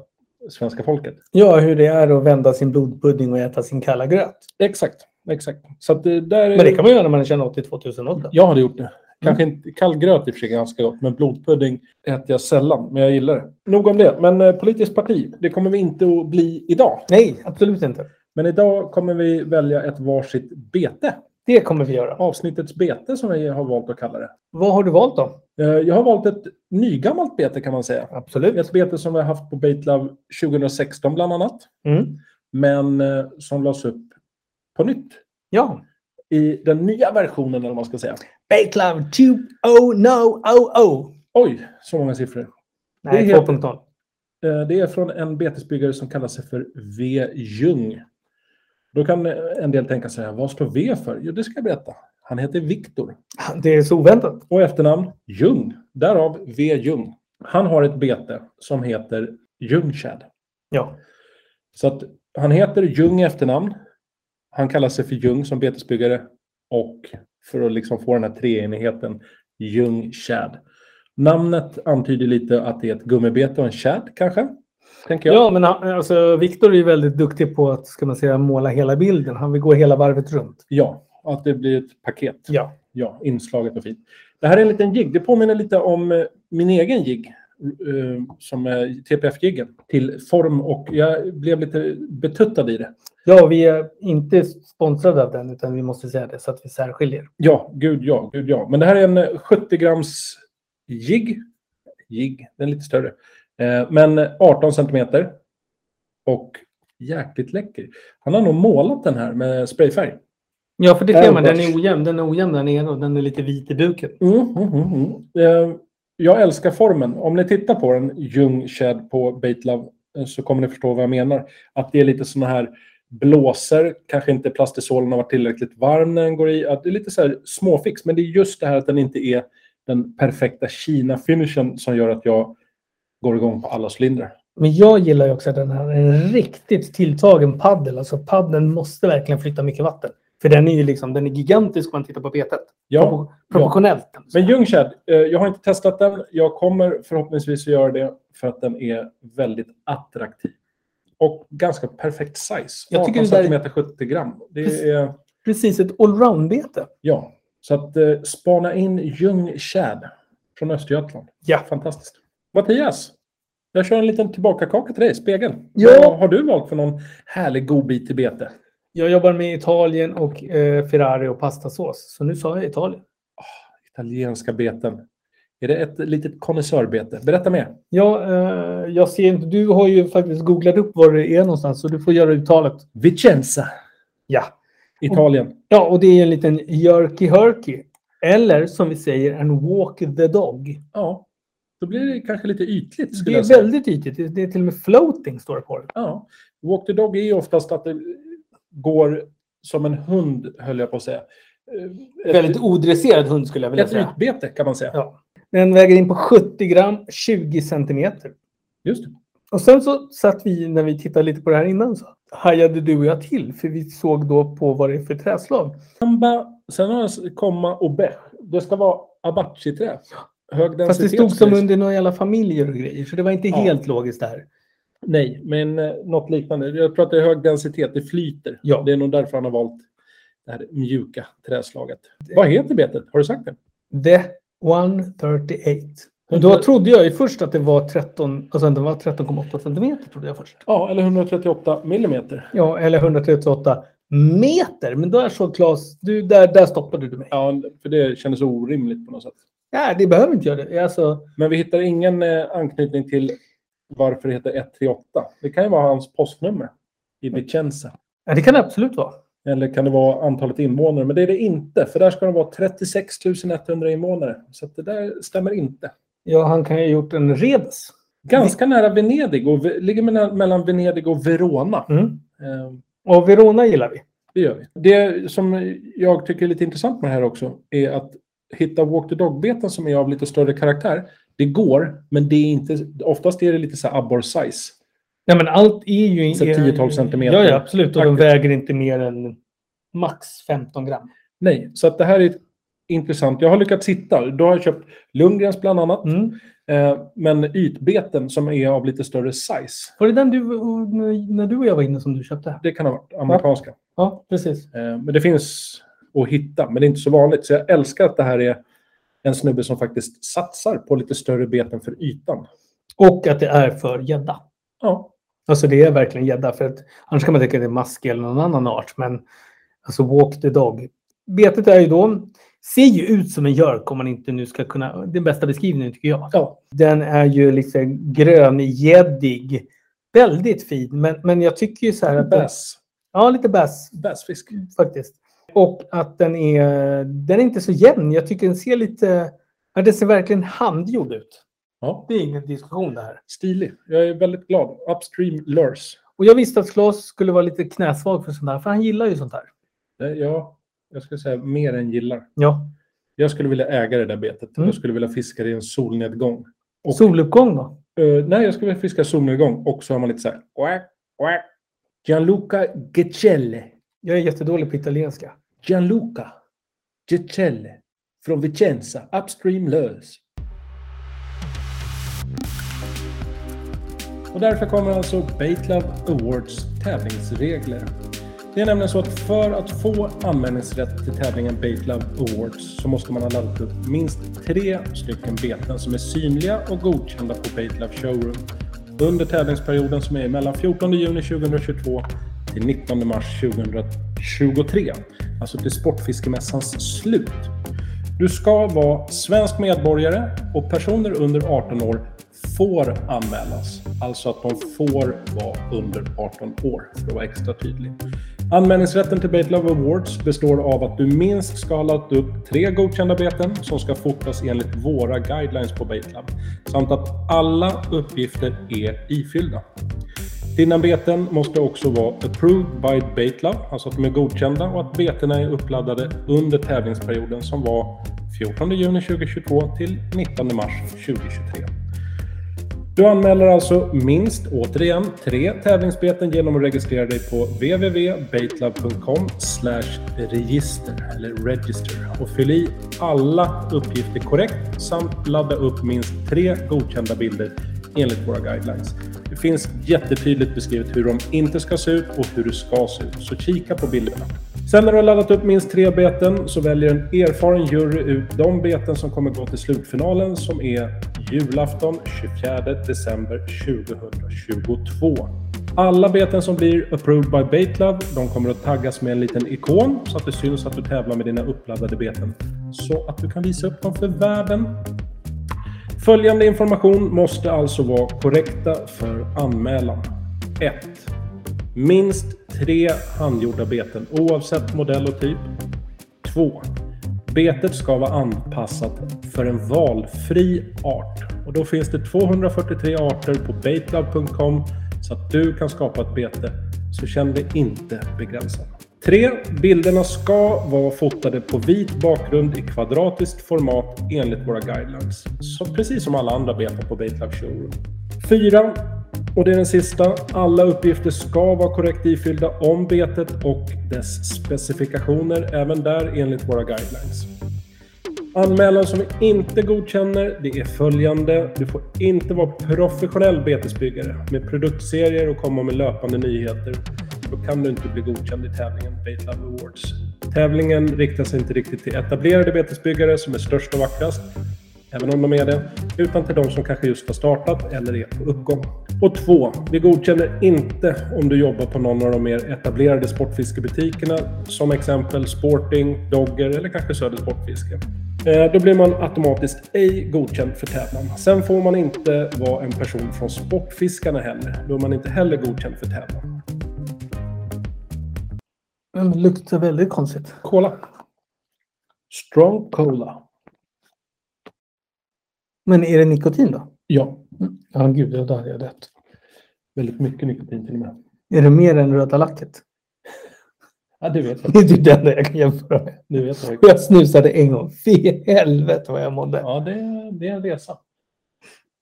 B: svenska folket.
C: Ja, hur det är att vända sin blodpudding och äta sin kalla gröt.
B: Exakt, exakt. Så att det där... är-
C: Men det kan Mm. man göra när man känner 82 000 åldern.
B: Jag hade gjort det. Kanske inte kall gröt i och för sig är ganska gott, men blodpudding äter jag sällan. Men jag gillar det. Nog om det. Men eh, politiskt parti, det kommer vi inte att bli idag.
C: Nej, absolut inte.
B: Men idag kommer vi välja ett varsitt bete.
C: Det kommer vi göra.
B: Avsnittets bete som vi har valt att kalla det.
C: Vad har du valt då?
B: Eh, Jag har valt ett nygammalt bete kan man säga.
C: Absolut.
B: Ett bete som vi har haft på Baitlove 2016 bland annat.
C: Mm.
B: Men eh, som lades upp på nytt
C: Ja.
B: i den nya versionen eller vad man ska säga.
C: Baitlove 2.0.0.
B: Oj, så många siffror.
C: Nej,
B: Det heter-
C: 2.0.
B: Eh, Det är från en betesbyggare som kallar sig för V. Ljung. Då kan eh, en del tänka sig, vad står V för? Jo, det ska jag berätta. Han heter Viktor
C: Det är så oväntat.
B: och efternamn Ljung, därav V. Ljung. Han har ett bete som heter Ljungtjärn.
C: Ja.
B: Så att han heter Ljung i efternamn. Han kallar sig för Ljung som betesbyggare. Och för att liksom få den här treenigheten, Ljung Tjärd. Namnet antyder lite att det är ett gummibete och en tjärd kanske. Tänker jag.
C: Ja, men han- alltså, Viktor är ju väldigt duktig på att ska man säga, måla hela bilden. Han vill gå hela varvet runt.
B: Ja, att det blir ett paket.
C: Ja.
B: Ja, inslaget och fint. Det här är en liten jigg. Det påminner lite om eh, min egen jigg. eh, Som TPF-jiggen. Till form och jag blev lite betuttad i det.
C: ja, vi är inte sponsrade av den, utan vi måste säga det så att vi särskiljer.
B: Ja, gud ja, gud ja. Men det här är en eh, 70 grams jigg. Jigg, den är lite större. Eh, Men 18 centimeter. Och jäkligt läcker. Han har nog målat den här med sprayfärg.
C: Ja, för det ser man. Den
B: Airbrush.
C: är ojämn. Den är ojämn där nere och den är lite vit i buken.
B: Mm, mm, mm, mm. Eh, jag älskar formen. Om ni tittar på den, Ljung Shed på Baitlove, eh, så kommer ni förstå vad jag menar. Att det är lite såna här blåser, kanske inte plastisolen har varit tillräckligt varm när den går i. Att det är lite så här småfix, men det är just det här att den inte är den perfekta Kina-finishen som gör att jag går igång på alla cylindrar.
C: Men jag gillar ju också att den här är en riktigt tilltagen paddel. Alltså paddeln måste verkligen flytta mycket vatten. För den är ju liksom, den är gigantisk om man tittar på betet.
B: Ja,
C: Propo- Proportionellt.
B: men Ljung Shed, eh, jag har inte testat den. Jag kommer förhoppningsvis att göra det för att den är väldigt attraktiv. Och ganska perfekt size.
C: Jag tycker
B: 18
C: det där är-
B: centimeter 70 gram. Det är,
C: Precis, ett allround-bete.
B: ja. Så att eh, spana in Ljung Shad från Östergötland.
C: Ja.
B: Fantastiskt. Mattias, jag kör en liten tillbakakaka till dig, spegeln.
C: Ja.
B: Vad har du valt för någon härlig godbit i bete?
C: Jag jobbar med Italien och eh, Ferrari och pastasås. Så nu sa jag Italien.
B: Italienska beten. Är det ett litet konnässörbete? Berätta mer.
C: Ja, eh, jag ser inte. Du har ju faktiskt googlat upp var det är någonstans så du får göra uttalet.
B: Vicenza,
C: Ja.
B: Italien.
C: Ja, och det är en liten jerky herky. Eller som vi säger, en walk the dog.
B: Ja. Då blir det kanske lite ytligt.
C: Det
B: Skulle jag
C: är
B: säga.
C: väldigt ytligt. Det- Det är till och med floating står det på det.
B: Ja. Walk the dog är ju oftast att det går som en hund, höll jag på att säga. Eh,
C: Väldigt odresserad hund skulle jag vilja
B: Ett
C: säga.
B: utbete kan man säga.
C: Ja. Den väger in på 70 gram, 20 centimeter.
B: Just det.
C: Och sen så satt vi, när vi tittade lite på det här innan, så hajade du och jag till. För vi såg då på vad det är för träslag.
B: Samba, sen har jag s- komma och bech. Det ska vara abachiträ. hög densitet.
C: Fast det stod som
B: sägs.
C: under några jävla familjer och grejer, så det var inte
B: Ja.
C: helt logiskt där.
B: Nej, men eh, något liknande. Jag tror att det är hög densitet, det flyter.
C: Ja.
B: Det är nog därför han har valt det här mjuka träslaget. Vad heter betet? Har du sagt det?
C: The 138. Men då trodde jag ju först att det var 13, alltså den var 13,8 centimeter trodde jag först.
B: Ja, eller 138 millimeter.
C: Ja, eller 138 meter. Men där såg Claes, du, där, där stoppade du mig. Ja.
B: Ja, för det kändes orimligt på något sätt.
C: det behöver inte jag det. Alltså,
B: Men vi hittar ingen eh, anknytning till varför det heter 138. Det kan ju vara hans postnummer i Vicenza.
C: ja, det kan det absolut vara.
B: Eller kan det vara antalet invånare? Men det är det inte, för där ska det vara 36 100 invånare. Så att det där stämmer inte.
C: Ja, han kan ju ha gjort en redes.
B: Ganska nära Venedig och v- ligger mellan- mellan Venedig och Verona.
C: Mm.
B: Eh,
C: Och Verona gillar vi.
B: Det gör vi. Det som jag tycker är lite intressant med det här också är att hitta Walk the Dog-beten som är av lite större karaktär. Det går, men det är inte, oftast är det lite så här abborre-size.
C: Nej, men allt är ju...
B: Så 10-12 centimeter.
C: Ja, ja, absolut. Och de
B: Faktiskt.
C: väger inte mer än max 15 gram.
B: Nej, så att det här är intressant. Jag har lyckats hitta, då har jag köpt Lundgrens bland annat,
C: Mm.
B: eh, men ytbeten som är av lite större size.
C: Var det den du, när du och jag var inne som du köpte?
B: Det kan ha varit amerikanska.
C: Ja, precis.
B: Eh, men det finns att hitta, men det är inte så vanligt. Så jag älskar att det här är en snubbe som faktiskt satsar på lite större beten för ytan.
C: Och att det är för gädda.
B: Ja,
C: Alltså det är verkligen gädda. för att Annars kan man tänka att det är mask eller någon annan art. Men alltså walk the dog. Betet är ju då, ser ju ut som en gök om man inte nu ska kunna, den bästa beskrivningen tycker jag.
B: Ja.
C: Den är ju liksom gröngäddig. Väldigt fin, men, men jag tycker ju så
B: Äh,
C: här att...
B: bass.
C: Ja, lite bass
B: Bassfisk.
C: Mm. faktiskt. Och att den är, den är inte så jämn. Jag tycker den ser lite, ja, den ser verkligen handgjord ut.
B: Ja.
C: Det är ingen diskussion det här.
B: Stilig. Jag är väldigt glad. Upstream lures.
C: Och jag visste att Claes skulle vara lite knäsvag för sånt här, för han gillar ju sånt här.
B: Det- Ja, jag skulle säga mer än gillar.
C: Ja.
B: Jag skulle vilja äga det där betet.
C: Mm.
B: Jag skulle vilja fiska det i en solnedgång. Och-
C: Soluppgång då?
B: Eh, nej, jag skulle vilja fiska solnedgång. Och så har man lite så här. Quack, quack. Gianluca Gecelle.
C: Jag är jättedålig på italienska.
B: Gianluca Gecelle. Från Vicenza. Upstream lures. Och därför kommer alltså Baitlab Awards tävlingsregler. Det är nämligen så att för att få anmälningsrätt till tävlingen Baitlab Awards så måste man ha laddat upp minst tre stycken beten som är synliga och godkända på Baitlab Showroom under tävlingsperioden som är mellan 14 juni 2022 till 19 mars 2023. Alltså till Sportfiskemässans slut. Du ska vara svensk medborgare och personer under 18 år får anmälas. Alltså att de får vara under 18 år, för att vara extra tydlig. Anmälningsrätten till Bait Love Awards består av att du minst ska ha lagt upp tre godkända beten som ska fotas enligt våra guidelines på Bait Love, samt att alla uppgifter är ifyllda. Dina beten måste också vara approved by Baitlab, alltså att de är godkända och att betena är uppladdade under tävlingsperioden som var 14 juni 2022 till 19 mars 2023. Du anmäler alltså minst, återigen, tre tävlingsbeten genom att registrera dig på www.baitlab.com register eller register och fyll i alla uppgifter korrekt samt ladda upp minst tre godkända bilder enligt våra guidelines. Det finns jättetydligt beskrivet hur de inte ska se ut och hur det ska se ut, så kika på bilderna. Sen när du har laddat upp minst tre beten så väljer en erfaren jury ut de beten som kommer gå till slutfinalen som är julafton 24 december 2022. Alla beten som blir approved by Baitlab, de kommer att taggas med en liten ikon så att det syns att du tävlar med dina uppladdade beten så att du kan visa upp dem för världen Följande information måste alltså vara korrekta för anmälan. 1. Minst tre handgjorda beten oavsett modell och typ. 2. Betet ska vara anpassat för en valfri art. Och då finns det 243 arter på baitlab.com så att du kan skapa ett bete. Så känn dig inte begränsad. 3. Bilderna ska vara fotade på vit bakgrund i kvadratiskt format enligt våra guidelines. Så precis som alla andra beten på Baitlab Showroom. 4. Och det är den sista. Alla uppgifter ska vara korrekt ifyllda om betet och dess specifikationer, även där enligt våra guidelines. Anmälan som vi inte godkänner det är följande. Du får inte vara professionell betesbyggare med produktserier och komma med löpande nyheter. Då kan du inte bli godkänd i tävlingen Bait Love Awards. Tävlingen riktar sig inte riktigt till etablerade betesbyggare som är störst och vackrast, även om de är det, utan till de som kanske just har startat eller är på uppgång. Och två, vi godkänner inte om du jobbar på någon av de mer etablerade sportfiskebutikerna, som exempel Sporting, Dogger eller kanske Söder Sportfiske. Eh, Då blir man automatiskt ej godkänd för tävlan. Sen får man inte vara en person från Sportfiskarna heller. Då är man inte heller godkänd för tävlan.
C: Den luktar väldigt konstigt.
B: Cola. Strong Cola.
C: Men är det nikotin då?
B: Ja,
C: Ja, gud, ja, då hade jag dött.
B: väldigt mycket nikotin till och med.
C: Är det mer än röda lacket?
B: Ja, du vet.
C: Det är typ det enda jag kan jämföra med.
B: Du vet vad jag-
C: Jag snusade en gång. Fy helvete vad jag mådde.
B: Ja, det är, det är en resa.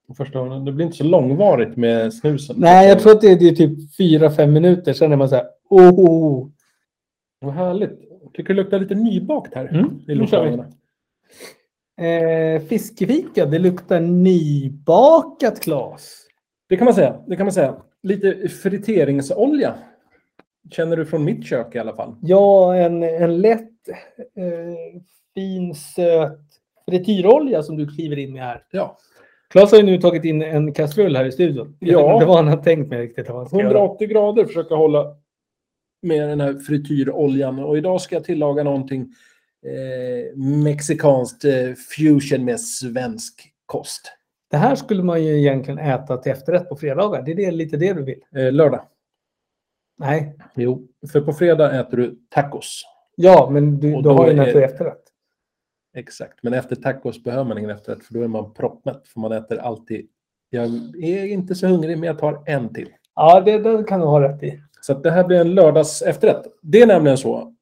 B: De Första gången. Det blir inte så långvarigt med snusen.
C: Nej, jag tror att det är, det är typ fyra fem minuter. Sen är man så här, oh, oh, oh.
B: Vad härligt. Jag tycker det luktar lite nybakt här i
C: Mm, nu kör vi.
B: lokalerna.
C: Eh, fiskefika, det luktar nybakat Klas.
B: Det kan man säga. Det kan man säga. Lite friteringsolja. Känner du från mitt kök i alla fall.
C: Ja, en, en lätt, eh, fin, söt frityrolja som du kliver in med här.
B: Ja.
C: Klas har ju nu tagit in en kastrull här i studion. Jag
B: Ja.
C: vet inte vad han har tänkt med riktigt. Vad han ska göra.
B: 180 grader försöka hålla med den här frityroljan. Och idag ska jag tillaga någonting eh, mexikanskt eh, fusion med svensk kost.
C: Det här skulle man ju egentligen äta till efterrätt på fredagar. Det är det, lite det du vill.
B: Eh, lördag.
C: Nej,
B: Jo. För på fredag äter du tacos.
C: ja, men du,
B: Och
C: du
B: då
C: har ju
B: är-
C: en till efterrätt.
B: Exakt. Men efter tacos behöver man ingen efterrätt för då är man proppmätt. För man äter alltid. Jag är inte så hungrig men jag tar en till.
C: Ja, det, det kan du ha rätt i.
B: Så att det här blir en lördags efterrätt. Det är nämligen så.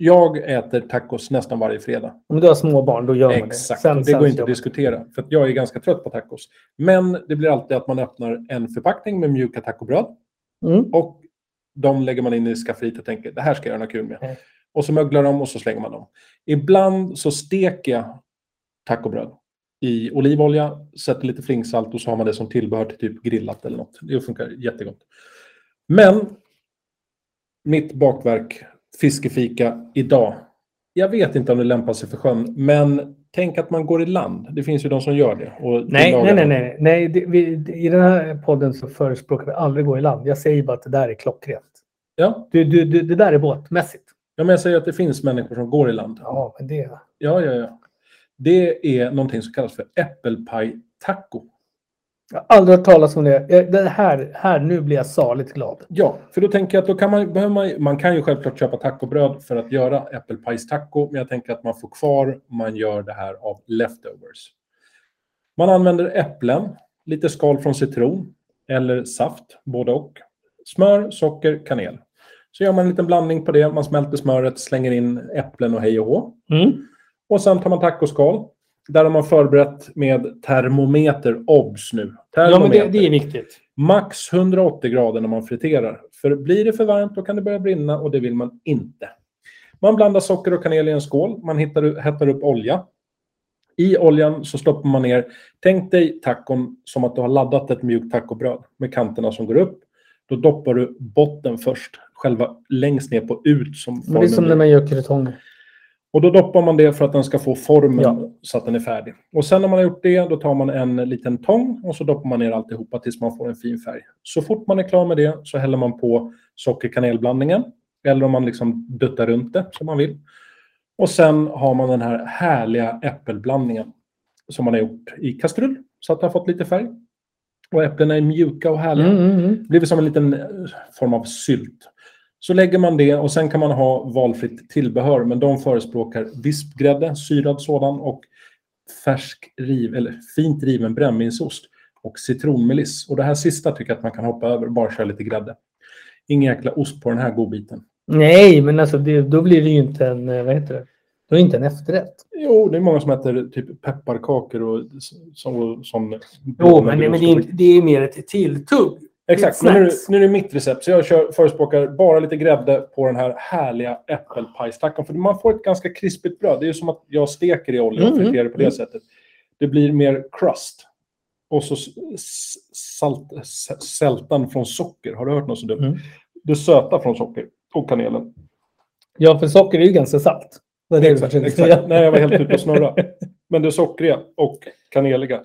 B: Jag äter tacos nästan varje fredag.
C: Om du har små barn, då gör man det.
B: Exakt. och det
C: sen
B: går
C: så
B: inte
C: gör
B: att
C: man-
B: diskutera. För att jag är ganska trött på tacos. Men det blir alltid att man öppnar en förpackning med mjuka tacobröd.
C: Mm.
B: Och de lägger man in i skafferiet och tänker det här ska jag göra något kul med.
C: Mm.
B: Och så möglar de och så slänger man dem. Ibland så steker jag tacobröd i olivolja, sätter lite flingsalt och så har man det som tillbehör till typ grillat eller något. Det funkar jättegott. Men mitt bakverk, fiskefika, idag. Jag vet inte om det lämpar sig för sjön, men tänk att man går i land. Det finns ju de som gör det. Och
C: Nej, nej,
B: tillagar
C: nej.
B: det.
C: nej. nej det, vi, det- I den här podden så förespråkar vi aldrig gå i land. Jag säger bara att det där är klockrent.
B: Ja.
C: Du, du, du, det där är båtmässigt.
B: ja, men jag säger att det finns människor som går i land.
C: Ja, men det...
B: Ja, ja, ja. Det är någonting som kallas för äppelpaj-taco.
C: Jag har aldrig hört talas om det. Jag- Det här, här, nu blir jag saligt glad.
B: Ja, för då tänker jag att då kan man, behöver man, man kan ju självklart köpa tacobröd för att göra äppelpajstaco, men jag tänker att man får kvar, man gör det här av leftovers. Man använder äpplen, lite skal från citron eller saft, både och. Smör, socker, kanel. Så gör man en liten blandning på det, man smälter smöret, slänger in äpplen och hej och hå.
C: Mm.
B: Och sen tar man tacoskal. Där har man förberett med termometer. Obs nu.
C: Ja, men
B: Termometer.
C: det, det är viktigt.
B: Max 180 grader när man friterar. För blir det för varmt då kan det börja brinna och det vill man inte. Man blandar socker och kanel i en skål. Man hittar, hettar upp olja. I oljan så stoppar man ner. Tänk dig tacon som att du har laddat ett mjukt tacobröd med kanterna som går upp. Då doppar du botten först. Själva längst ner på ut som
C: Men det är
B: formen
C: som när
B: blir.
C: man gör krutonger.
B: Och då doppar man det för att den ska få formen
C: Ja.
B: så att den är färdig. Och sen när man har gjort det, då tar man en liten tång och så doppar man ner alltihopa tills man får en fin färg. Så fort man är klar med det så häller man på sockerkanelblandningen. Eller om man liksom duttar runt det som man vill. Och sen har man den här härliga äppelblandningen som man har gjort i kastrull så att det har fått lite färg. Och äpplena är mjuka och härliga.
C: Mm, mm, mm.
B: Det blir som en liten eh, form av sylt. Så lägger man det och sen kan man ha valfritt tillbehör. Men de förespråkar vispgrädde, syrad sådan och färsk riv, eller fint riven brännvinsost och citronmeliss. Och det här sista tycker jag att man kan hoppa över. Bara köra lite grädde. Ingen jäkla ost på den här godbiten.
C: Nej, men alltså det, då blir det ju inte en, eh, vad heter det? Då är det inte en efterrätt.
B: Jo, det är många som äter typ pepparkakor och s- som... som
C: Jo, men, det- men det, är, inte- det är mer ett tilltugg.
B: Exakt, men nu, är
C: snacks.
B: det- nu är det mitt recept. Så jag kör, förespråkar bara lite grädde på den här härliga äppelpajstackan. För man får ett ganska krispigt bröd. Det är ju som att jag steker i olja och
C: Mm,
B: friterar det på det
C: mm.
B: sättet. Det blir mer crust. Och så s- s- salt, s- sältan från socker. Har du hört något så dumt?
C: Mm.
B: Det söta från socker och kanelen.
C: Ja, för socker är ju ganska salt. Det är det
B: Exakt,
C: du försöker
B: exakt.
C: säga.
B: Nej, jag var helt ute och snurra. Men det sockriga och kaneliga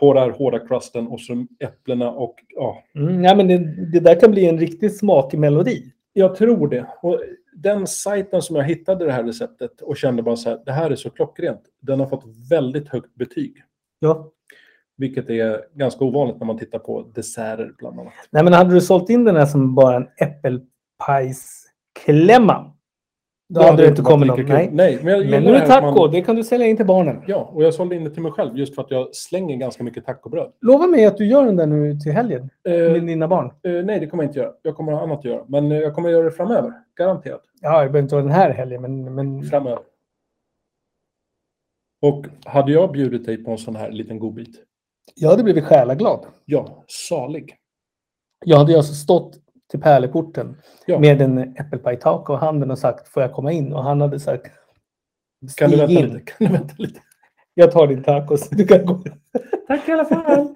B: på den här hårda crusten och så äpplena och ja,
C: Mm, nej, men det, det där kan bli en riktig smakmelodi.
B: Jag tror det. Och den sajten som jag hittade det här receptet och kände bara så här, det här är så klockrent. Den har fått väldigt högt betyg,
C: Ja.
B: vilket är ganska ovanligt när man tittar på desserter bland annat.
C: Nej, men hade du sålt in den här som bara en äppelpajsklämma, då hade det inte
B: varit
C: kommit
B: lika
C: någon.
B: kul.
C: Nej.
B: nej. Men, jag gillar
C: Men nu är
B: det
C: det
B: här att man-
C: taco, det kan du sälja in till barnen.
B: Ja, och jag sålde in det till mig själv just för att jag slänger ganska mycket tacobröd.
C: Lova mig att du gör den där nu till helgen
B: Eh,
C: med dina barn.
B: eh, nej, det kommer jag inte göra. Jag kommer ha annat att göra. Men eh, jag kommer göra det framöver. Garanterat.
C: Ja, det behöver inte vara den här helgen, men... men...
B: Framöver. Och hade jag bjudit dig på en sån här liten godbit?
C: Jag hade blivit själaglad.
B: Ja, salig.
C: Jag hade ju alltså stått till pärleporten
B: Ja.
C: med en äppelpajtaka och handen och sagt får jag komma in? Och han hade sagt
B: Kan du
C: "Stig
B: vänta
C: in.
B: lite? Kan du vänta lite?
C: Jag tar din tacos. Du kan gå.
B: Tack i alla fall.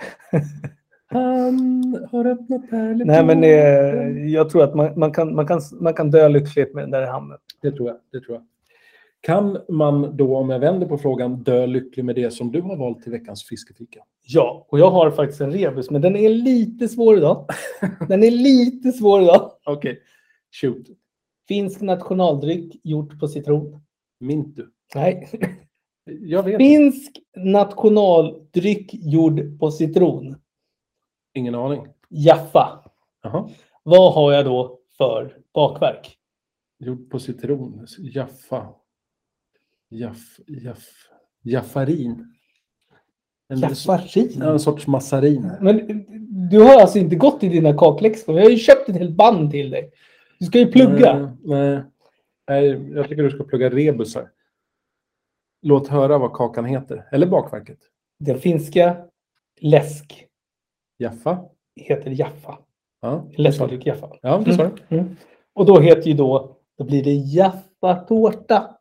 B: Han har öppnat pärleporten.
C: Nej, men eh, jag tror att man, man, kan, man, kan, man kan dö lyckligt med den där i handen.
B: Det tror jag. Det tror jag. Kan man då, om jag vänder på frågan, dö lycklig med det som du har valt till veckans fiskefika?
C: Ja, och jag har faktiskt en rebus, men den är lite svår idag. Den är lite svår idag.
B: Okej. Shoot.
C: Finsk nationaldryck gjort på citron.
B: Mintu.
C: Nej.
B: Jag vet inte.
C: Finsk nationaldryck gjord på citron.
B: Ingen aning.
C: Jaffa.
B: Jaha.
C: Vad har jag då för bakverk?
B: Gjord på citron. Jaffa. Jaff, jaff, jaffarin. En,
C: Jaffarin.
B: en sorts massarin.
C: Men du har alltså inte gått i dina kakläxor. Jag har ju köpt ett helt band till dig. Du ska ju plugga.
B: Mm, Nej, nej. nej, jag tycker du ska plugga rebusar. Låt höra vad kakan heter. Eller bakverket.
C: Den finska läsk
B: Jaffa.
C: heter Jaffa.
B: Ja,
C: Läskdryck Jaffa.
B: ja det sa du.
C: Mm. Och då heter ju då, då blir det Jaffa-tårta.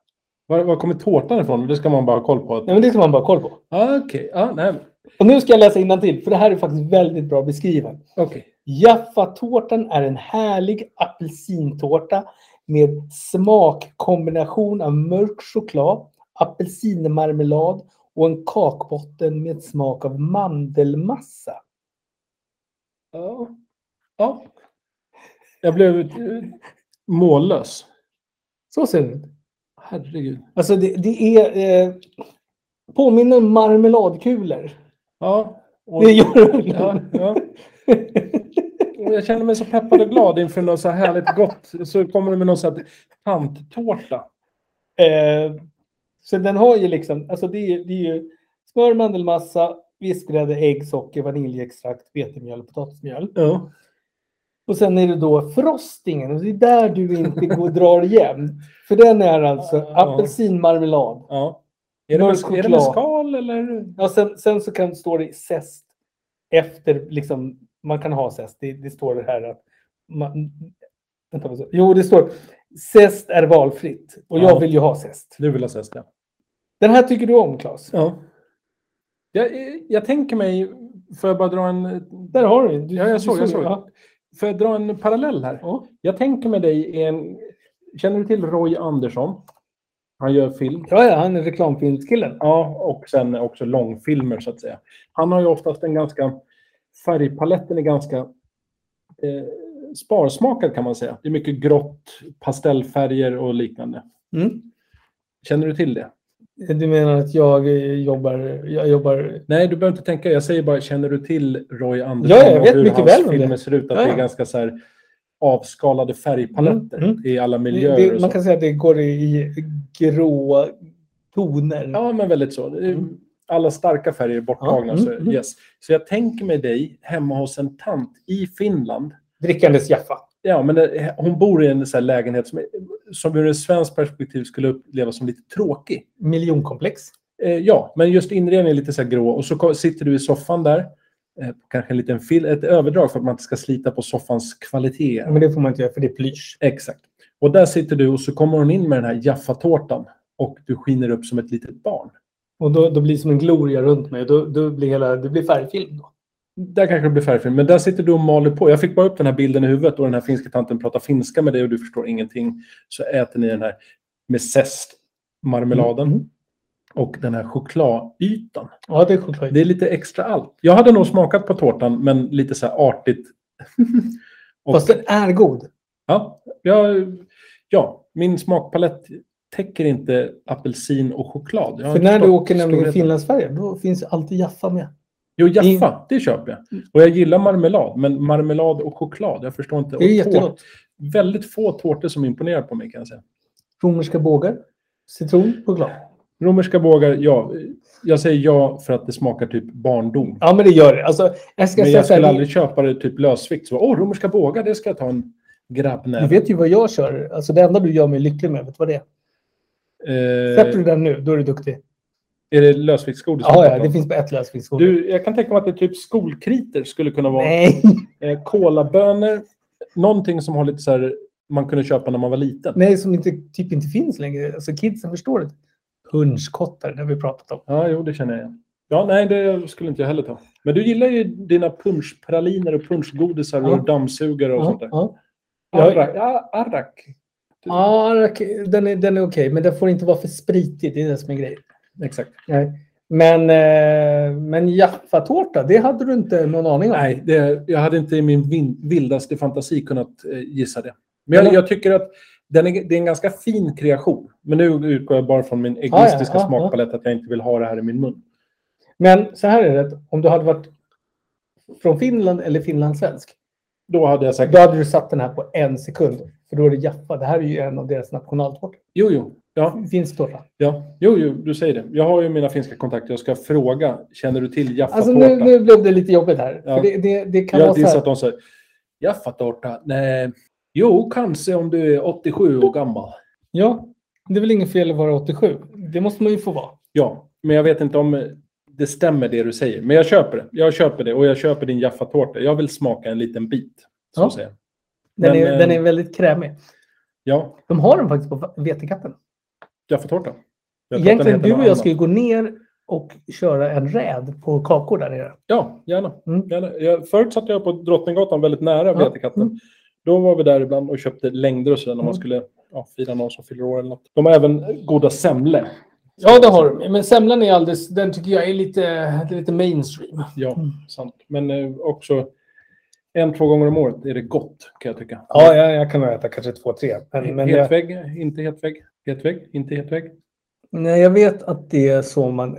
B: Var, var kommer tårtan ifrån? Det ska man bara ha koll på.
C: Nej, men det ska man bara ha koll på.
B: Ah, Okej, ah, nej.
C: Och nu ska jag läsa innantill, för det här är faktiskt väldigt bra beskrivet.
B: Okej.
C: Jaffatårtan är en härlig apelsintårta med smakkombination av mörk choklad, apelsinmarmelad och en kakbotten med smak av mandelmassa.
B: Ja. ja. Jag blev eh, mållös.
C: Så ser det ut.
B: Herregud.
C: Alltså det, det är... Eh, påminner om marmeladkulor.
B: Ja. och-
C: Det gör det.
B: ja, ja. Och Jag känner mig så peppad och glad inför något så här härligt gott. Så kommer du med någon sån här tanttårta.
C: Eh, så den har ju liksom, alltså det är, ju- det är ju smör, mandelmassa, vispgrädde, ägg, socker, vaniljextrakt, vetemjöl och potatismjöl.
B: Ja.
C: Och sen är det då frostingen och det är där du inte går och drar igen. För den är alltså
B: Ja.
C: apelsinmarmelad.
B: Ja. Är det,
C: Mörk
B: med, är det
C: choklad.
B: med skal eller?
C: Ja, sen, sen så kan, står det zest efter, liksom, man kan ha zest. Det, det står det här att... Man, vänta, vad står det? jo, det står zest är valfritt och
B: Ja.
C: jag vill ju ha zest.
B: Du vill ha zest, ja.
C: Den här tycker du om, Claes.
B: ja. Jag, jag tänker mig, får jag bara dra en...
C: Där har du den. Du-
B: Ja,
C: du
B: jag såg, jag
C: den.
B: såg.
C: Ja.
B: Får jag dra en parallell här?
C: Ja.
B: Jag tänker mig dig i en... Känner du till Roy Andersson? Han gör film.
C: Ja, ja, han är reklamfilmskillen.
B: Ja, och sen också långfilmer så att säga. Han har ju oftast en ganska... Färgpaletten är ganska eh, sparsmakad kan man säga. Det är mycket grått, pastellfärger och liknande.
C: Mm.
B: Känner du till det?
C: Du menar att jag eh, jobbar... Jag jobbar...
B: Nej, du behöver inte tänka. Jag säger bara, känner du till Roy Andersson?
C: Ja, jag vet
B: och hur
C: mycket
B: hans
C: väl om det.
B: filmer ser ut. Att
C: Ja,
B: det
C: ja.
B: är ganska så här avskalade färgpaletter
C: Mm, mm.
B: i alla miljöer.
C: Det,
B: och
C: man
B: så.
C: kan säga att det går i grå toner.
B: Ja, men väldigt så. Det är-
C: Mm.
B: Alla starka färger är borttagna.
C: Ja, mm, mm.
B: så, yes. så jag tänker mig dig hemma hos en tant i Finland.
C: Drickandes Jaffa.
B: Ja, men det, hon bor i en så här lägenhet som, är- som ur ett svenskt perspektiv skulle upplevas som lite tråkig.
C: Miljonkomplex.
B: Eh, ja, men just inredningen är lite så här grå. Och så ko- sitter du i soffan där eh, på kanske en liten fil, ett överdrag för att man inte ska slita på soffans kvalitet.
C: Men det får man inte göra för det är plysch.
B: Exakt. Och där sitter du och så kommer hon in med den här Jaffa-tårtan och du skiner upp som ett litet barn.
C: Och då, då blir det som en gloria runt mig. Då, då blir hela, det blir färgfilm då.
B: Där kanske det blir färgfilm, men där sitter du och maler på. Jag fick bara upp den här bilden i huvudet och den här finska tanten pratar finska med dig och du förstår ingenting. Så äter ni den här med zest, marmeladen.
C: Mm.
B: Och den här chokladytan.
C: Ja, det är choklad.
B: Det är lite extra allt. Jag hade nog smakat på tårtan, men lite så här artigt. och,
C: Fast den är god.
B: ja, jag, ja, min smakpalett täcker inte apelsin och choklad. Jag har
C: För
B: inte
C: när du
B: förstått
C: åker nämligen
B: storheten.
C: Finlandsfärja, då finns alltid Jaffa med.
B: Jo, Jaffa, det köper
C: Mm.
B: jag. Och jag gillar marmelad, men marmelad och choklad, jag förstår inte.
C: Det är
B: Och
C: jättegott.
B: tårt- Väldigt få tårtor som imponerar på mig kan jag säga.
C: Romerska bågar, citron, choklad.
B: Romerska bågar, ja. Jag säger ja för att det smakar typ barndom.
C: Ja, men det gör det. Alltså, jag ska
B: Men
C: säga
B: jag
C: så här,
B: skulle
C: det-
B: aldrig köpa det typ lösvikt. Så, åh, romerska bågar, det ska jag ta en grabbnäve.
C: Du vet ju vad jag kör. Alltså, det enda du gör mig lycklig med, vet du vad det är? Släpper du
B: eh,
C: den nu, då är du duktig.
B: är det lösviktsgodis?
C: Ja, ja, det finns bara ett lösviktsord.
B: du, jag kan tänka mig att det är typ skolkriter skulle kunna vara.
C: Nej.
B: Eh, kolabönor. Någonting som har lite så här, man kunde köpa när man var liten.
C: Nej, som inte, typ inte finns längre. Alltså, kidsen förstår det. Punschkottar, det har vi pratat om.
B: Ja, jo, det känner jag igen. Ja, nej, det skulle inte jag heller ta. Men du gillar ju dina punschpraliner och punschgodisar
C: Ja.
B: och dammsugare och
C: Ja,
B: sånt där.
C: ja. Jag-
B: Arrak. Ja, arrak.
C: Ja, okej, den är, den är okej, men den får inte vara för spritig. Det är det som är grejen.
B: Exakt.
C: Nej. Men, eh, men Jaffa-tårta, det hade du inte någon aning om?
B: Nej, det, jag hade inte i min vin, vildaste fantasi kunnat eh, gissa det. Men jag,
C: Men-
B: jag tycker att den är, det är en ganska fin kreation. Men nu utgår jag bara från min
C: ja,
B: egoistiska
C: ja, ja.
B: smakpalett att jag inte vill ha det här i min mun.
C: Men så här är det, om du hade varit från Finland eller finlandssvensk,
B: Då hade jag sagt,
C: då hade du satt den här på en sekund. För då är det Jaffa. Det här är ju en av deras nationaltårtor.
B: jo, jo. Ja,
C: Finsk tårta.
B: ja. Jo, jo, du säger det. Jag har ju mina finska kontakter. Jag ska fråga, känner du till
C: Alltså
B: Jaffa-tårta?
C: nu, nu blev det lite jobbigt här.
B: Ja.
C: För det, det, det kan
B: Jag
C: vara så
B: gissar att
C: här.
B: de säger Jaffatårta? Nej. Jo, kanske om du är 87 år gammal.
C: Ja, det är väl inget fel att vara 87. Det måste man ju få vara.
B: Ja, men jag vet inte om det stämmer det du säger. Men jag köper det. Jag köper det och jag köper din Jaffatårta. Jag vill smaka en liten bit. Så
C: Ja.
B: att säga.
C: Den,
B: Men,
C: är,
B: eh,
C: den är väldigt krämig.
B: Ja,
C: De har den faktiskt på Vetekatten.
B: Jaffatårta. Jag tror att den
C: Egentligen
B: heter
C: du
B: något
C: och jag
B: annat.
C: ska ju gå ner och köra en räd på kakor där nere.
B: Ja, gärna.
C: Mm.
B: gärna. Jag, förut satt jag på Drottninggatan väldigt nära
C: Ja.
B: Vetekatten.
C: Mm.
B: Då var vi där ibland och köpte längder och sådär när man
C: Mm.
B: skulle ja, fira någon som fyller år eller något. De har även goda semlor.
C: Ja, det har de. Men semlan är alldeles, den tycker jag är lite, det är lite mainstream.
B: Ja,
C: Mm.
B: sant. Men eh, också en, två gånger om året är det gott kan jag tycka.
C: Ja, jag, jag kan nog äta kanske två, tre. Men, men jag,
B: hetvägg, inte hetvägg, hetvägg, inte hetvägg.
C: nej, jag vet att det är så man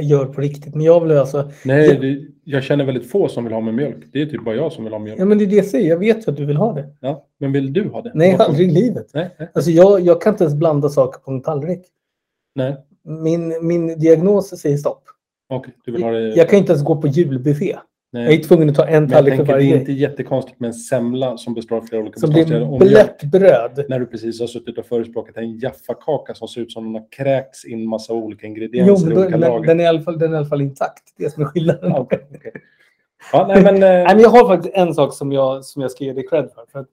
C: eh, gör på riktigt. Men jag vill alltså...
B: Nej,
C: Ja.
B: det, jag känner väldigt få som vill ha med mjölk. Det är typ bara jag som vill ha mjölk.
C: Ja, men det är det jag säger. Jag vet ju att du vill ha det.
B: Ja, men vill du ha det?
C: Nej,
B: Varför-
C: aldrig i livet.
B: Nej, nej,
C: Alltså, jag, jag kan inte ens blanda saker på en tallrik.
B: nej.
C: Min, min diagnos säger stopp.
B: Okej, du vill ha det.
C: Jag kan inte ens gå på julbuffé.
B: nej.
C: Jag är tvungen att ta en
B: Men jag
C: tallrik för
B: tänker, det är
C: varje
B: inte
C: grej.
B: jättekonstigt med en semla som består av flera olika
C: Som
B: beståndsdelar.
C: blir
B: Om jag,
C: blött bröd.
B: när du precis har suttit och förespråkat en jaffakaka som ser ut som den har kräkts in massa olika
C: Jo,
B: ingredienser
C: men
B: i
C: då,
B: olika
C: den,
B: lager.
C: den, är i alla fall, den är i alla fall intakt. Det är det som är skillnaden.
B: Ja, okej, okej. Ja, nej, men, eh,
C: Nej, men jag har faktiskt en sak som jag, som jag ska ge dig cred för. för att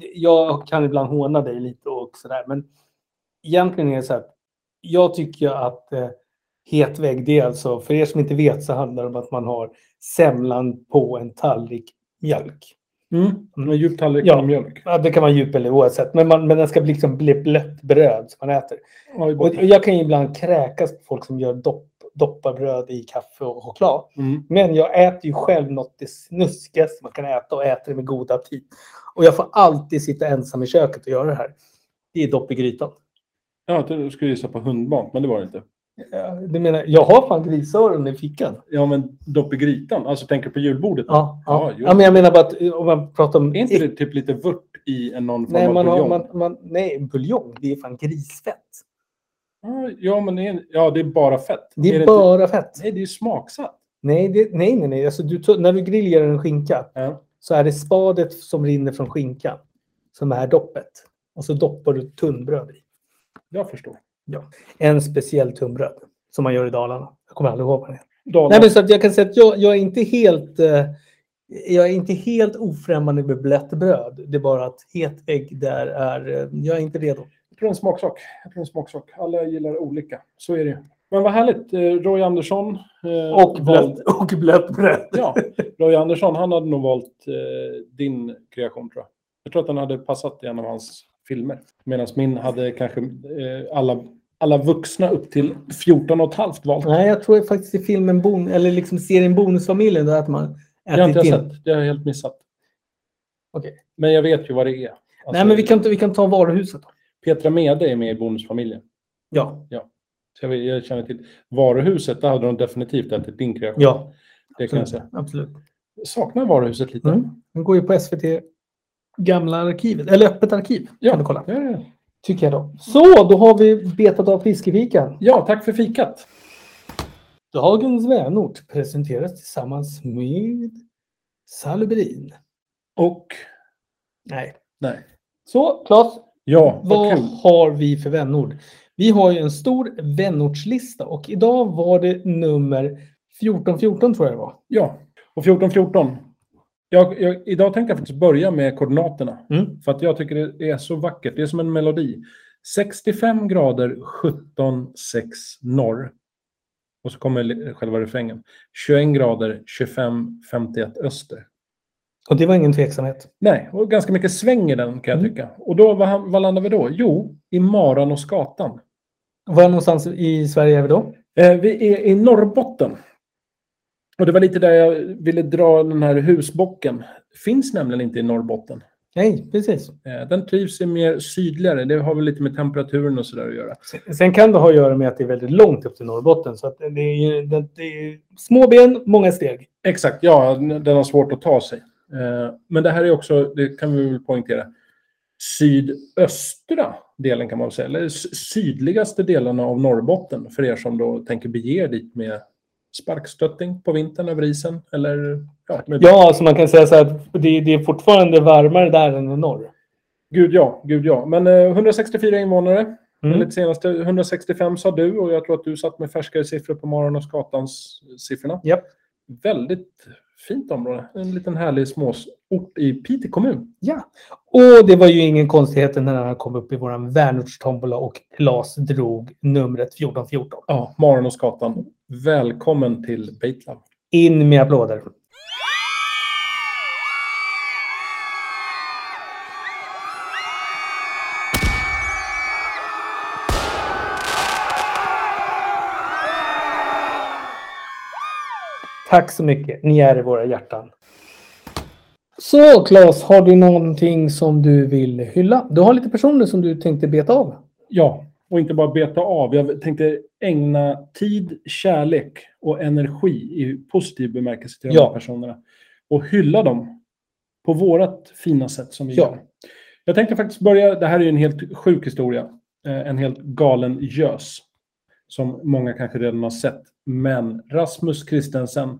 C: det- jag kan ibland håna dig lite och sådär, men egentligen är det så att jag tycker ju att eh, het vägg, det är alltså, för er som inte vet så handlar det om att man har semlan på en tallrik mjölk.
B: Mm. En djup tallrik
C: Ja.
B: med mjölk.
C: Ja, det kan vara djup eller oavsett, men, man, men den ska bli liksom bli blött bröd som man äter.
B: Ja, i
C: Och, och
B: botten.
C: jag kan ju ibland kräkas på folk som gör dopp, doppar bröd i kaffe och choklad.
B: Mm.
C: Men jag äter ju själv något det snuskigaste man kan äta och äter det med god aptit. Och jag får alltid sitta ensam i köket och göra det här. Det är dopp i grytan.
B: Ja, jag trodde du skulle gissa på hundmat, men det var det inte.
C: Ja, Eh, Du menar, jag har fan grisöron i fickan.
B: Ja, men dopp i grytan. Alltså, tänker du på julbordet?
C: Ja, ja.
B: Ja, jo.
C: ja, men jag menar bara att eh, om man pratar om...
B: Är inte det typ lite vört i en någon form
C: Nej,
B: av
C: man har,
B: buljong?
C: man, man, nej, buljong, det är fan grisfett.
B: Ja, Ja, men det är, ja, det är bara fett.
C: Det är,
B: det inte-
C: bara fett.
B: Nej, det är ju smaksatt.
C: Nej, det, nej, nej. nej. Alltså, du, tar- när du grillar en skinka
B: Ja.
C: så är det spadet som rinner från skinkan som är doppet. Och så doppar du tunnbröd i.
B: Jag förstår.
C: en speciell tunnbröd som man gör i Dalarna. Jag kommer aldrig ihåg vad den heter.
B: Dalarna.
C: Nej, men så att jag kan säga att jag, jag, är inte helt, eh, jag är inte helt ofrämmande med blött bröd. Det är bara att het ägg där är... eh, Jag är inte redo.
B: Jag tror det är en smaksak. Jag tror det är en smaksak. Alla gillar olika. Så är det ju. Men vad härligt. Eh, Roy Andersson. eh,
C: Och blött, och blött bröd.
B: Ja, Roy Andersson, han hade nog valt eh, din kreation tror jag. Jag tror att den hade passat i en av hans filmer. Medan min hade kanske eh, alla, alla vuxna upp till 14 och ett halvt valt.
C: Nej, jag tror faktiskt i filmen bon, eller liksom serien Bonusfamiljen där att man
B: det har inte jag
C: in.
B: sett. Det har jag helt missat.
C: Okej.
B: Men jag vet ju vad det är. Alltså,
C: Nej, men vi kan, ta- vi kan ta varuhuset. Då.
B: Petra Mede är med i Bonusfamiljen.
C: Ja,
B: Så jag, vet- jag känner till. Varuhuset, där hade de definitivt ätit din kreation.
C: ja,
B: det kan jag säga.
C: absolut.
B: Saknar varuhuset lite.
C: Mm. Den går ju på SVT gamla arkivet, eller öppet arkiv.
B: Ja.
C: Kan du kolla.
B: Ja, ja, ja.
C: Tycker jag då. Så, då har vi betat av fiskefikan.
B: ja, tack för fikat.
C: Dagens vänort presenteras tillsammans med Saluberin.
B: Och
C: Nej.
B: nej.
C: Så, Claes,
B: Ja, vad,
C: Vad
B: kul.
C: har vi för vänord? Vi har ju en stor vänortslista och idag var det nummer 1414 tror jag det var.
B: Ja, och 14-14. Jag, jag, idag tänkte jag faktiskt börja med koordinaterna.
C: Mm.
B: För att jag tycker det är så vackert. Det är som en melodi. 65 grader 17 6 norr. Och så kommer li- själva refrängen. 21 grader 25 51 öster.
C: Och det var ingen tveksamhet.
B: Nej, och ganska mycket sväng i den kan jag
C: Mm.
B: tycka. Och då, vad, vad landar vi då? Jo, i Maran och Skatan.
C: Var någonstans i Sverige är vi då?
B: Eh, vi är i Norrbotten. Och det var lite där jag ville dra den här husbocken. Finns nämligen inte i Norrbotten.
C: Nej, precis.
B: Eh, Den trivs i mer sydligare. Det har väl lite med temperaturen och sådär att göra.
C: Sen kan det ha att göra med att det är väldigt långt upp till Norrbotten. Så att det är, ju- det det är små ben, många steg.
B: Exakt, ja, den den har svårt att ta sig. Eh, Men det här är också, det kan vi väl poängtera, sydöstra delen kan man väl säga, eller s- sydligaste delarna av Norrbotten för er som då tänker bege er dit med sparkstötting på vintern över isen eller ja, med
C: Ja, alltså man kan säga så här att det, det är fortfarande varmare där än i norr.
B: Gud ja, gud ja. Men eh, 164 invånare.
C: Mm.
B: Enligt senaste 165 sa du och jag tror att du satt med färskare siffror på morgon och skatans siffrorna.
C: Japp.
B: Väldigt fint område. En liten härlig småort i Piteå kommun.
C: Ja, och det var ju ingen konstighet när han kom upp i våran vänortstombola och Claes drog numret 1414.
B: Ja, morgon och skatan. Välkommen till Beitlab.
C: In med applåder. Tack så mycket. Ni är i våra hjärtan. Så Claes, har du någonting som du vill hylla? Du har lite personer som du tänkte beta av.
B: Ja, och inte bara beta av. Jag tänkte ägna tid, kärlek och energi i positiv bemärkelse till de
C: Ja.
B: här personerna. Och hylla dem på vårat fina sätt som vi
C: Ja.
B: gör. Jag tänkte faktiskt börja, det här är ju en helt sjuk historia. Eh, En helt galen gös. Som många kanske redan har sett. Men Rasmus Kristensen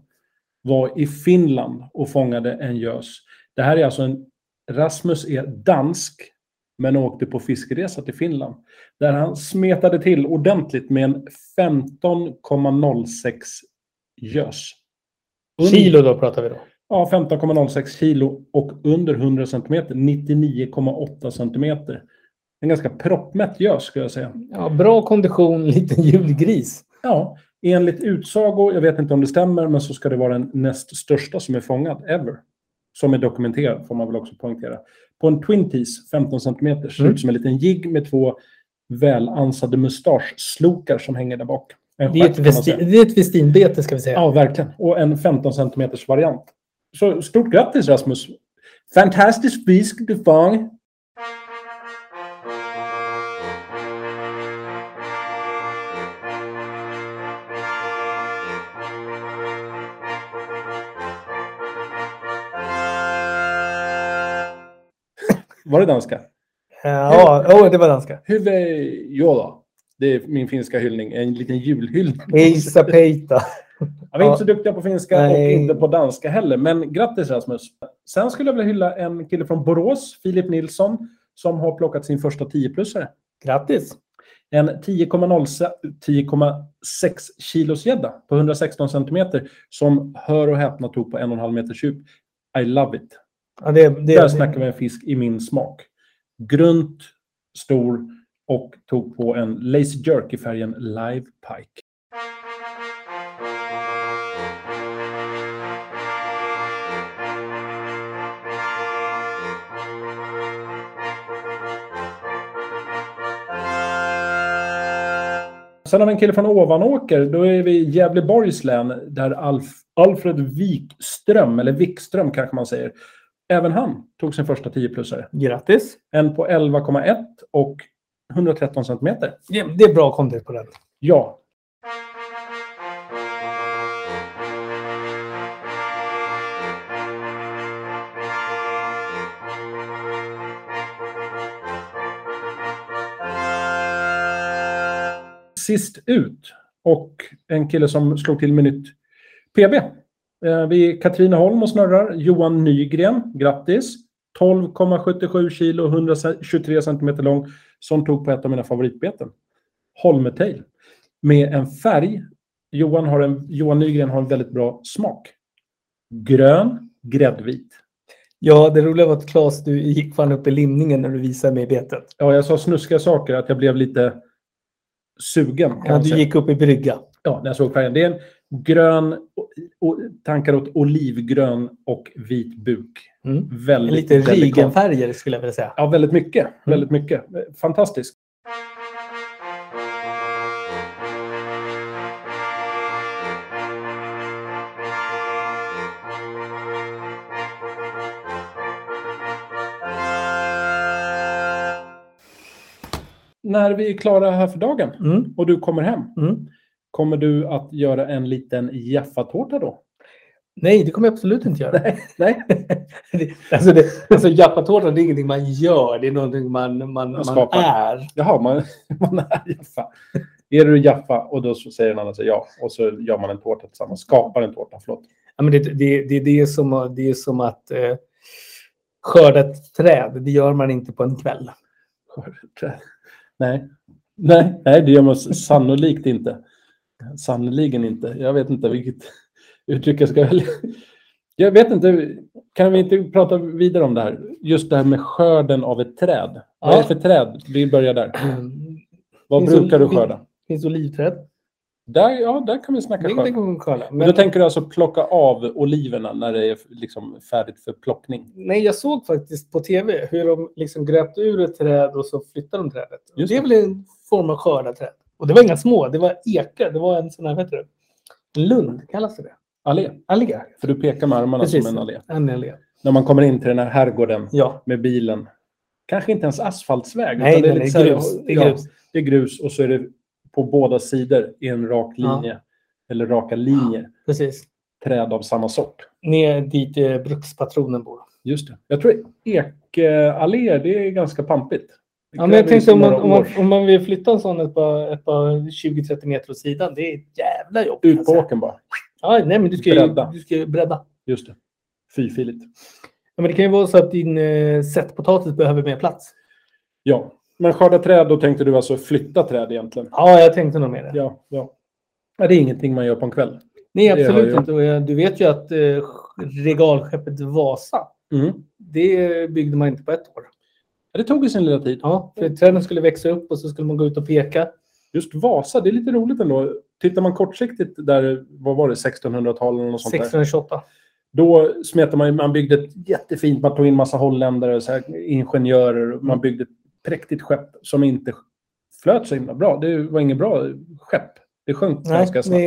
B: var i Finland och fångade en gös. Det här är alltså en... Rasmus är dansk, men åkte på fiskeresa till Finland där han smetade till ordentligt med en 15,06 gös. Und-
C: Kilo då pratar vi då.
B: Ja, 15,06 kilo och under 100 centimeter, 99,8 centimeter. En ganska proppmätt gös skulle jag säga.
C: Ja, bra kondition, liten julgris.
B: Ja, enligt utsago, jag vet inte om det stämmer, men så ska det vara den näst största som är fångad ever. Som är dokumenterad, får man väl också poängtera. På en Twin Tees, 15 centimeter, ser
C: Mm.
B: ut som en liten jigg med två välansade mustaschslokar som hänger där bak. En
C: Det är
B: stjärt,
C: ett,
B: kan man säga.
C: vesti- det är ett vestinbete ska vi säga.
B: Ja, verkligen. Och en 15 centimeters variant. Så stort grattis Rasmus! Fantastisk fisk du fång! Var det danska?
C: Eh, Ja, ja det var danska.
B: Hyvä jola. Det är min finska hyllning. En liten julhyllning.
C: Eisa Peita.
B: Ja, vi är
C: Ja.
B: inte så duktiga på finska
C: Nej.
B: och inte på danska heller, men grattis Rasmus. Sen skulle jag vilja hylla en kille från Borås, Filip Nilsson, som har plockat sin första 10-plussare.
C: Grattis!
B: En 10,0 se- 10,6 kilos gädda på 116 centimeter som, hör och häpna, tog på 1,5 meters djup. I love it.
C: Ja, det, det,
B: Där snackar vi en fisk i min smak. Grunt, stor och tog på en lazy jerk i färgen live pike. Sen har vi en kille från Ovanåker. Då är vi i Gävleborgs län där Alf, Alfred Wikström, eller Wikström kanske man säger, även han tog sin första 10-plussare.
C: Grattis!
B: En på 11,1 och 113 centimeter.
C: Det, det är bra content på den.
B: Ja. Sist ut och en kille som slog till med nytt PB. Eh, Vi är Katrineholm och snurrar. Johan Nygren, grattis. 12,77 kilo, 123 centimeter lång, som tog på ett av mina favoritbeten. Holmetail. Med en färg. Johan, har en, Johan Nygren har en väldigt bra smak. Grön, gräddvit.
C: Ja, det roliga var att Claes, du gick fan upp i limningen när du visade mig betet.
B: Ja, jag sa snuskiga saker, att jag blev lite sugen. kan
C: Ja,
B: man
C: du
B: säga.
C: gick upp i brygga.
B: Ja, när jag såg färgen. Det är en grön, och- och tankar åt olivgrön och vit buk.
C: Mm.
B: Väldigt
C: Lite
B: delikat.
C: Rigenfärger skulle jag vilja säga.
B: Ja, väldigt mycket. Väldigt mycket. Fantastiskt. När vi är klara här för dagen
C: Mm.
B: och du kommer hem,
C: Mm.
B: kommer du att göra en liten Jaffa-tårta då?
C: Nej, det kommer jag absolut inte göra.
B: Nej,
C: Det- alltså, det, alltså jappatårta, det är ingenting man gör. Det är någonting man, man,
B: Man
C: man
B: skapar.
C: är.
B: Jaha, man, man är Jaffa. Är du Jaffa? Och då så säger den andra så ja. Och så gör man en tårta tillsammans. Skapar en tårta, förlåt.
C: Ja, men det, det, det, det, är som, det är som att eh, skörda ett träd. Det gör man inte på en kväll.
B: Nej. Nej, nej, det gör man s- sannolikt inte. Sannoliken inte. Jag vet inte vilket uttryck jag ska välja. Jag vet inte. Kan vi inte prata vidare om det här? Just det här med skörden av ett träd. Vad är det för träd? Vi börjar där. Vad
C: Finns det-
B: brukar du skörda?
C: Mm. finns olivträd.
B: Där, ja, där kan vi snacka
C: Det, det
B: skörd.
C: kan man skörda.
B: Men då tänker du alltså plocka av oliverna när det är liksom färdigt för plockning?
C: Nej, jag såg faktiskt på tv hur de liksom grävde ur ett träd och så flyttade de trädet.
B: Just
C: det är
B: det.
C: väl en form av skörda träd. Och det var inga små, det var ekar. Det var en sån här, vad heter det? Lund kallas det.
B: Allé.
C: Allé.
B: För du pekar med armarna
C: Precis.
B: som en allé.
C: En allé.
B: När man kommer in till den här herrgården
C: Ja.
B: med bilen. Kanske inte ens asfaltsväg.
C: Nej,
B: utan
C: det är,
B: lite så här-
C: grus. Det är
B: ja,
C: grus.
B: det är grus och så är det på båda sidor i en rak
C: Ja.
B: linje. Eller raka linjer.
C: Precis.
B: Träd av samma sort.
C: Ner dit eh, brukspatronen bor.
B: Just det. Jag tror ekalléer, det är ganska pampigt. Det
C: Ja, men
B: kräver
C: jag tänkte
B: ju
C: om man,
B: några
C: om, man,
B: års-
C: om man vill flytta en sån ett par, ett par 20-30 meter åt sidan, det är ett jävla jobb.
B: Ut på
C: alltså.
B: åkern bara.
C: Ja, nej, men du ska ju
B: Bredda.
C: bredda. Du ska ju bredda.
B: Just det. Fyrfiligt.
C: Ja, men det kan ju vara så att din eh, sättpotatis behöver mer plats.
B: Ja. Men skörda träd, då tänkte du alltså flytta träd egentligen?
C: Ja, jag tänkte nog med det.
B: Ja, ja. Ja, Det är ingenting man gör på en kväll.
C: Nej,
B: Det har
C: absolut
B: jag.
C: inte. Och jag- Du vet ju att eh, regalskeppet Vasa,
B: Mm.
C: det byggde man inte på ett år.
B: Ja, Det tog ju sin lilla tid.
C: Ja, för träden skulle växa upp och så skulle man gå ut och peka.
B: Just Vasa, det är lite roligt ändå. Tittar man kortsiktigt där, vad var det, 1600-talet eller något sånt där.
C: 1628.
B: Då smetade man, ju- man byggde ett jättefint, man tog in massa holländare, och så här, ingenjörer. och Man byggde ett präktigt skepp som inte flöt så himla bra. Det var inget bra skepp. Det sjönk
C: Nej,
B: ganska snabbt.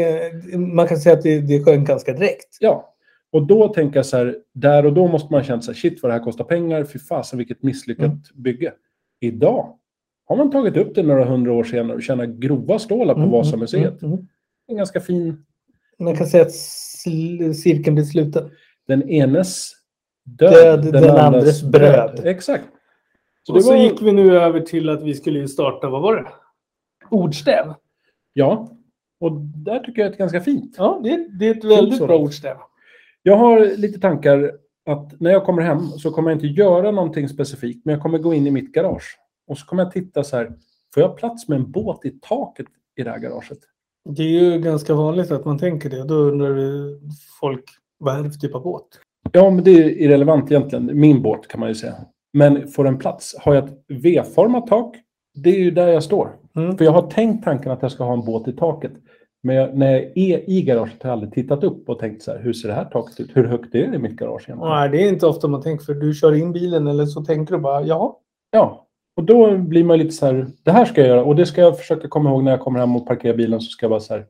C: det, man kan säga att det, det sjönk ganska direkt.
B: Ja. Och då tänker jag så här, där och då måste man känna så här, shit vad det här kostar pengar, fy fasen vilket misslyckat
C: Mm.
B: bygge. Idag har man tagit upp det några hundra år senare och tjänar grova stålar på
C: Mm,
B: Vasamuseet.
C: mm, mm, mm.
B: En ganska fin,
C: Man kan säga att sl- cirkeln blir sluten.
B: den enes död,
C: Död, den andres bröd.
B: Exakt. Så
C: Och
B: det
C: så
B: var,
C: gick vi nu över till att vi skulle ju starta, vad var det? Ordstäv.
B: Ja, och där tycker jag att det är ganska fint.
C: Ja, det, det är ett väldigt
B: sådant.
C: bra ordstäv.
B: Jag har lite tankar att när jag kommer hem så kommer jag inte göra någonting specifikt, men jag kommer gå in i mitt garage och så kommer jag titta så här, Får jag plats med en båt i taket i det här garaget?
C: Det är ju ganska vanligt att man tänker det. Då undrar ju folk vad är det för typ av båt?
B: Ja, men det är irrelevant egentligen. Min båt kan man ju säga. Men får den plats? Har jag ett V-format tak? Det är ju där jag står.
C: Mm.
B: För jag har tänkt tanken att jag ska ha en båt i taket. Men jag, när jag är i garaget har jag aldrig tittat upp och tänkt så här, hur ser det här taket ut? Hur högt är det i mitt garage egentligen?
C: Nej, det är inte ofta man tänker för du kör in bilen eller så tänker du bara jaha.
B: Ja, och då blir man lite så här, det här ska jag göra och det ska jag försöka komma ihåg när jag kommer hem och parkerar bilen så ska jag vara så här,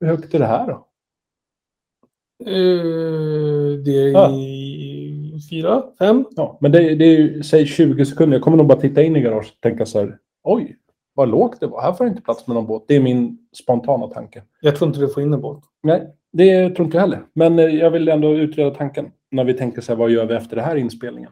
B: hur högt är det här då?
C: Eh, det är
B: Ja.
C: i fyra, fem.
B: Ja, men det, det är ju, säg 20 sekunder, jag kommer nog bara titta in i garaget och tänka så här, oj, vad lågt det var, här får jag inte plats med någon båt. Det är min spontana tanke.
C: Jag tror inte du får in en båt.
B: Nej, det tror inte jag heller. Men eh, jag vill ändå utreda tanken när vi tänker så här, vad gör vi efter den här inspelningen?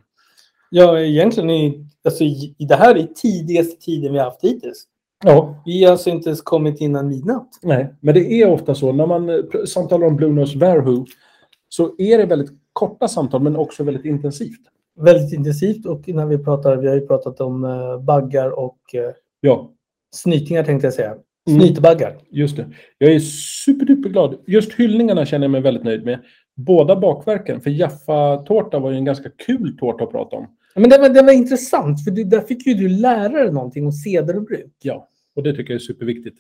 C: Ja, egentligen i, alltså, i, i det här är tidigaste tiden vi har haft hittills.
B: Ja,
C: Vi har alltså inte ens kommit innan midnatt.
B: Nej, men det är ofta så. När man eh, pr- samtalar om Blue Nose Verhu så är det väldigt korta samtal, men också väldigt intensivt.
C: Väldigt intensivt och när vi pratar, vi har ju pratat om eh, baggar och eh,
B: Ja,
C: snytingar tänkte jag säga. Snytbaggar.
B: just det. Jag är superduperglad. Just hyllningarna känner jag mig väldigt nöjd med. Båda bakverken, för Jaffa-tårta var ju en ganska kul tårta att prata om.
C: Men det var, det var intressant för du, där fick ju du lära dig någonting om seder och bruk.
B: Ja, och det tycker jag är superviktigt.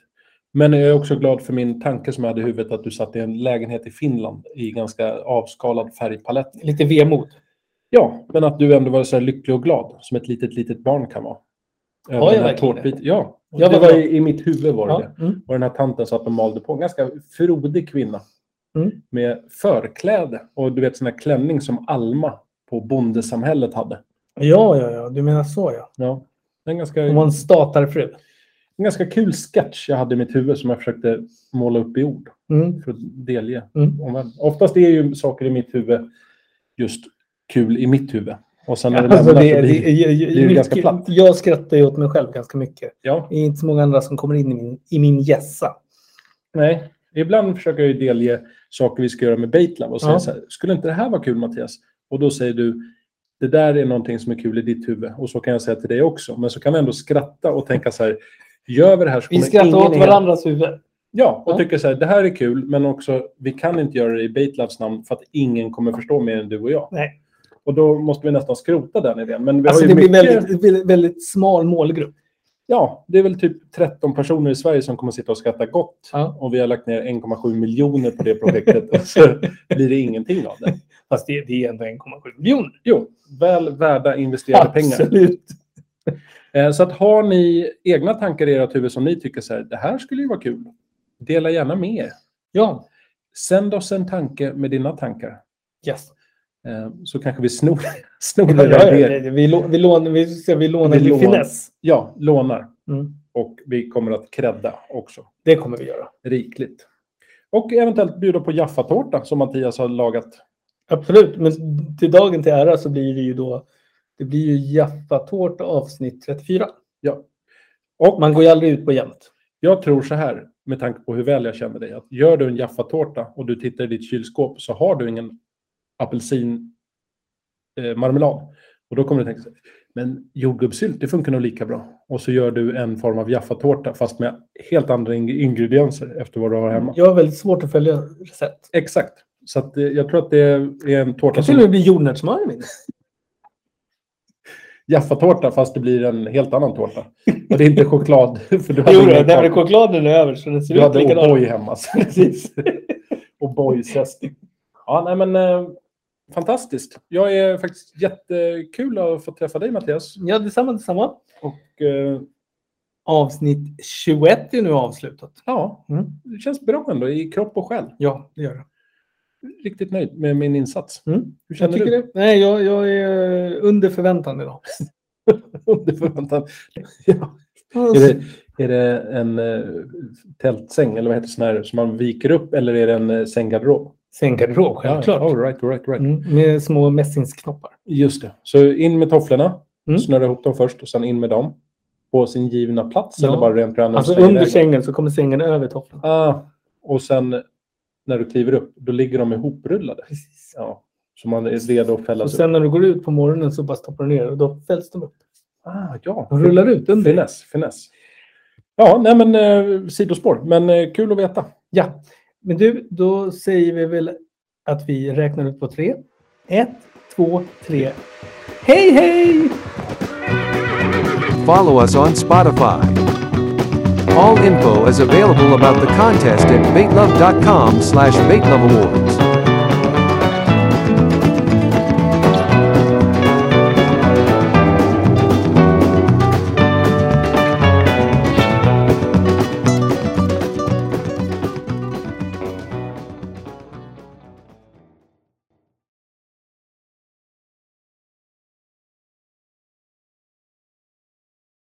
B: Men jag är också glad för min tanke som jag hade i huvudet att du satt i en lägenhet i Finland i ganska avskalad färgpalett.
C: Lite vemod.
B: Ja, men att du ändå var så här lycklig och glad som ett litet, litet barn kan vara. Över
C: jag
B: den här
C: verkligen
B: tårtbiten. Ja,
C: Jag
B: det
C: var
B: var
C: glad.
B: i, i mitt huvud var det det.
C: Ja. Mm.
B: Och den här tanten satt och malde på. En ganska frodig kvinna.
C: Mm.
B: Med förkläde och du vet sån här klänning som Alma på bondesamhället hade.
C: ja, ja, ja. Du menar så ja.
B: Ja. En ganska,
C: Hon var en statarfru.
B: en ganska kul sketch jag hade i mitt huvud som jag försökte måla upp i ord
C: Mm.
B: för att delge
C: Mm.
B: omvärlden. Oftast är ju saker i mitt huvud just kul i mitt huvud. Och sen när det
C: Alltså, det,
B: lämnar
C: det,
B: förbi-
C: jag- jag-
B: det är ju ganska
C: mycket-
B: platt.
C: Jag skrattar ju åt mig själv ganska mycket.
B: ja.
C: Det är inte så många andra som kommer in i min, i min gässa.
B: Nej, ibland försöker jag ju delge saker vi ska göra med Baitlab och säga
C: Ja.
B: så här, skulle inte det här vara kul Mattias? Och då säger du, det där är någonting som är kul i ditt huvud. Och så kan jag säga till dig också. Men så kan vi ändå skratta och tänka så här, gör vi det här så
C: Vi
B: kommer
C: skrattar
B: ingen
C: åt
B: ihåg."
C: varandras huvud.
B: Ja, och
C: Ja.
B: tycker så här, det här är kul, men också vi kan inte göra det i Baitlabs namn för att ingen kommer förstå mer än du och jag.
C: Nej.
B: Och då måste vi nästan skrota den idén. Men vi
C: Alltså,
B: har
C: det
B: ju
C: blir
B: mycket,
C: väldigt, väldigt, väldigt smal målgrupp.
B: Ja, det är väl typ 13 personer i Sverige som kommer sitta och skratta gott.
C: Ja.
B: Och vi har lagt ner 1,7 miljoner på det projektet. och så blir det ingenting av det.
C: Fast det, det är ändå 1,7 miljoner.
B: Jo, väl värda investerade pengar.
C: Absolut.
B: Eh, Så att har ni egna tankar i ert huvud som ni tycker så här, det här skulle ju vara kul. Dela gärna med er.
C: Ja.
B: Sänd oss en tanke med dina tankar.
C: Yes.
B: Eh, Så kanske vi snor, snor
C: Ja,
B: era
C: ja,
B: idéer.
C: ja, vi, lå- vi lånar, vi, ska- vi lånar
B: Vi
C: till
B: lån-
C: finess.
B: Ja, lånar.
C: Mm.
B: Och vi kommer att credda också.
C: Det kommer vi göra.
B: Rikligt. Och eventuellt bjuda på Jaffa-tårta som Mattias har lagat
C: Absolut, men till dagen till ära så blir det ju då det blir ju Jaffa-tårta avsnitt 34.
B: Ja. Och
C: Man går ju aldrig ut på jämt.
B: jag tror så här, med tanke på hur väl jag känner dig, att gör du en Jaffa-tårta och du tittar i ditt kylskåp så har du ingen apelsinmarmelad. Eh, marmelad. och då kommer du tänka så här, men jordgubbssylt, det funkar nog lika bra. Och så gör du en form av Jaffa-tårta fast med helt andra ing- ingredienser efter vad du har hemma.
C: Jag har väldigt svårt att följa recept.
B: Exakt. Så att, eh, jag tror att det är en tårta
C: Det till och
B: som
C: med bli jordnötssmör i min.
B: Jaffa-tårta fast det blir en helt annan tårta. Och det är inte choklad. För du hade
C: Jo,
B: ingen
C: nej, men
B: kakao.
C: chokladen är över så den ser
B: Du
C: ut
B: hade
C: likadant.
B: O'boy hemma. så Precis. O'boy-zest. Ja, nej men eh, fantastiskt. Jag är faktiskt jättekul att få träffa dig Mattias.
C: Ja, detsamma, detsamma.
B: Och eh,
C: Avsnitt 21 är nu avslutat.
B: ja,
C: Mm.
B: det känns bra ändå i kropp och själ.
C: Ja, det gör det.
B: Riktigt nöjd med min insats.
C: Mm.
B: Hur
C: Jag
B: känner
C: tycker
B: du?
C: det. Nej, jag, jag är eh, under förväntan idag.
B: Under förväntan. Ja. Är
C: Alltså,
B: det, är det en eh, tältsäng eller vad heter sån här som man viker upp eller är det en eh, sänggarderob?
C: Sänggarderob, självklart.
B: Ja, all right, all right, all right.
C: Mm, med små mässingsknoppar.
B: Just det. Så in med tofflorna,
C: Mm.
B: snurra ihop dem först och sen in med dem. På sin givna plats
C: Ja.
B: eller bara rent random.
C: Alltså
B: släng
C: under
B: iväg dem.
C: sängen så kommer sängen över toppen.
B: Ah, och sen när du kliver upp, då ligger de ihoprullade.
C: Precis.
B: Ja. Så man är redo att fällas
C: Och sen när du går ut på morgonen så bara stoppar du ner och då fälls de upp.
B: upp. Ah, ja.
C: De rullar ut under.
B: Finess, finess. Ja, nej men eh, sidospår. Men eh, kul att veta.
C: Ja, men du, då säger vi väl att vi räknar ut på tre. Ett, två, tre. Hej, hej!
D: Follow us on Spotify. All info is available about the contest at baitlove.com slash baitloveawards.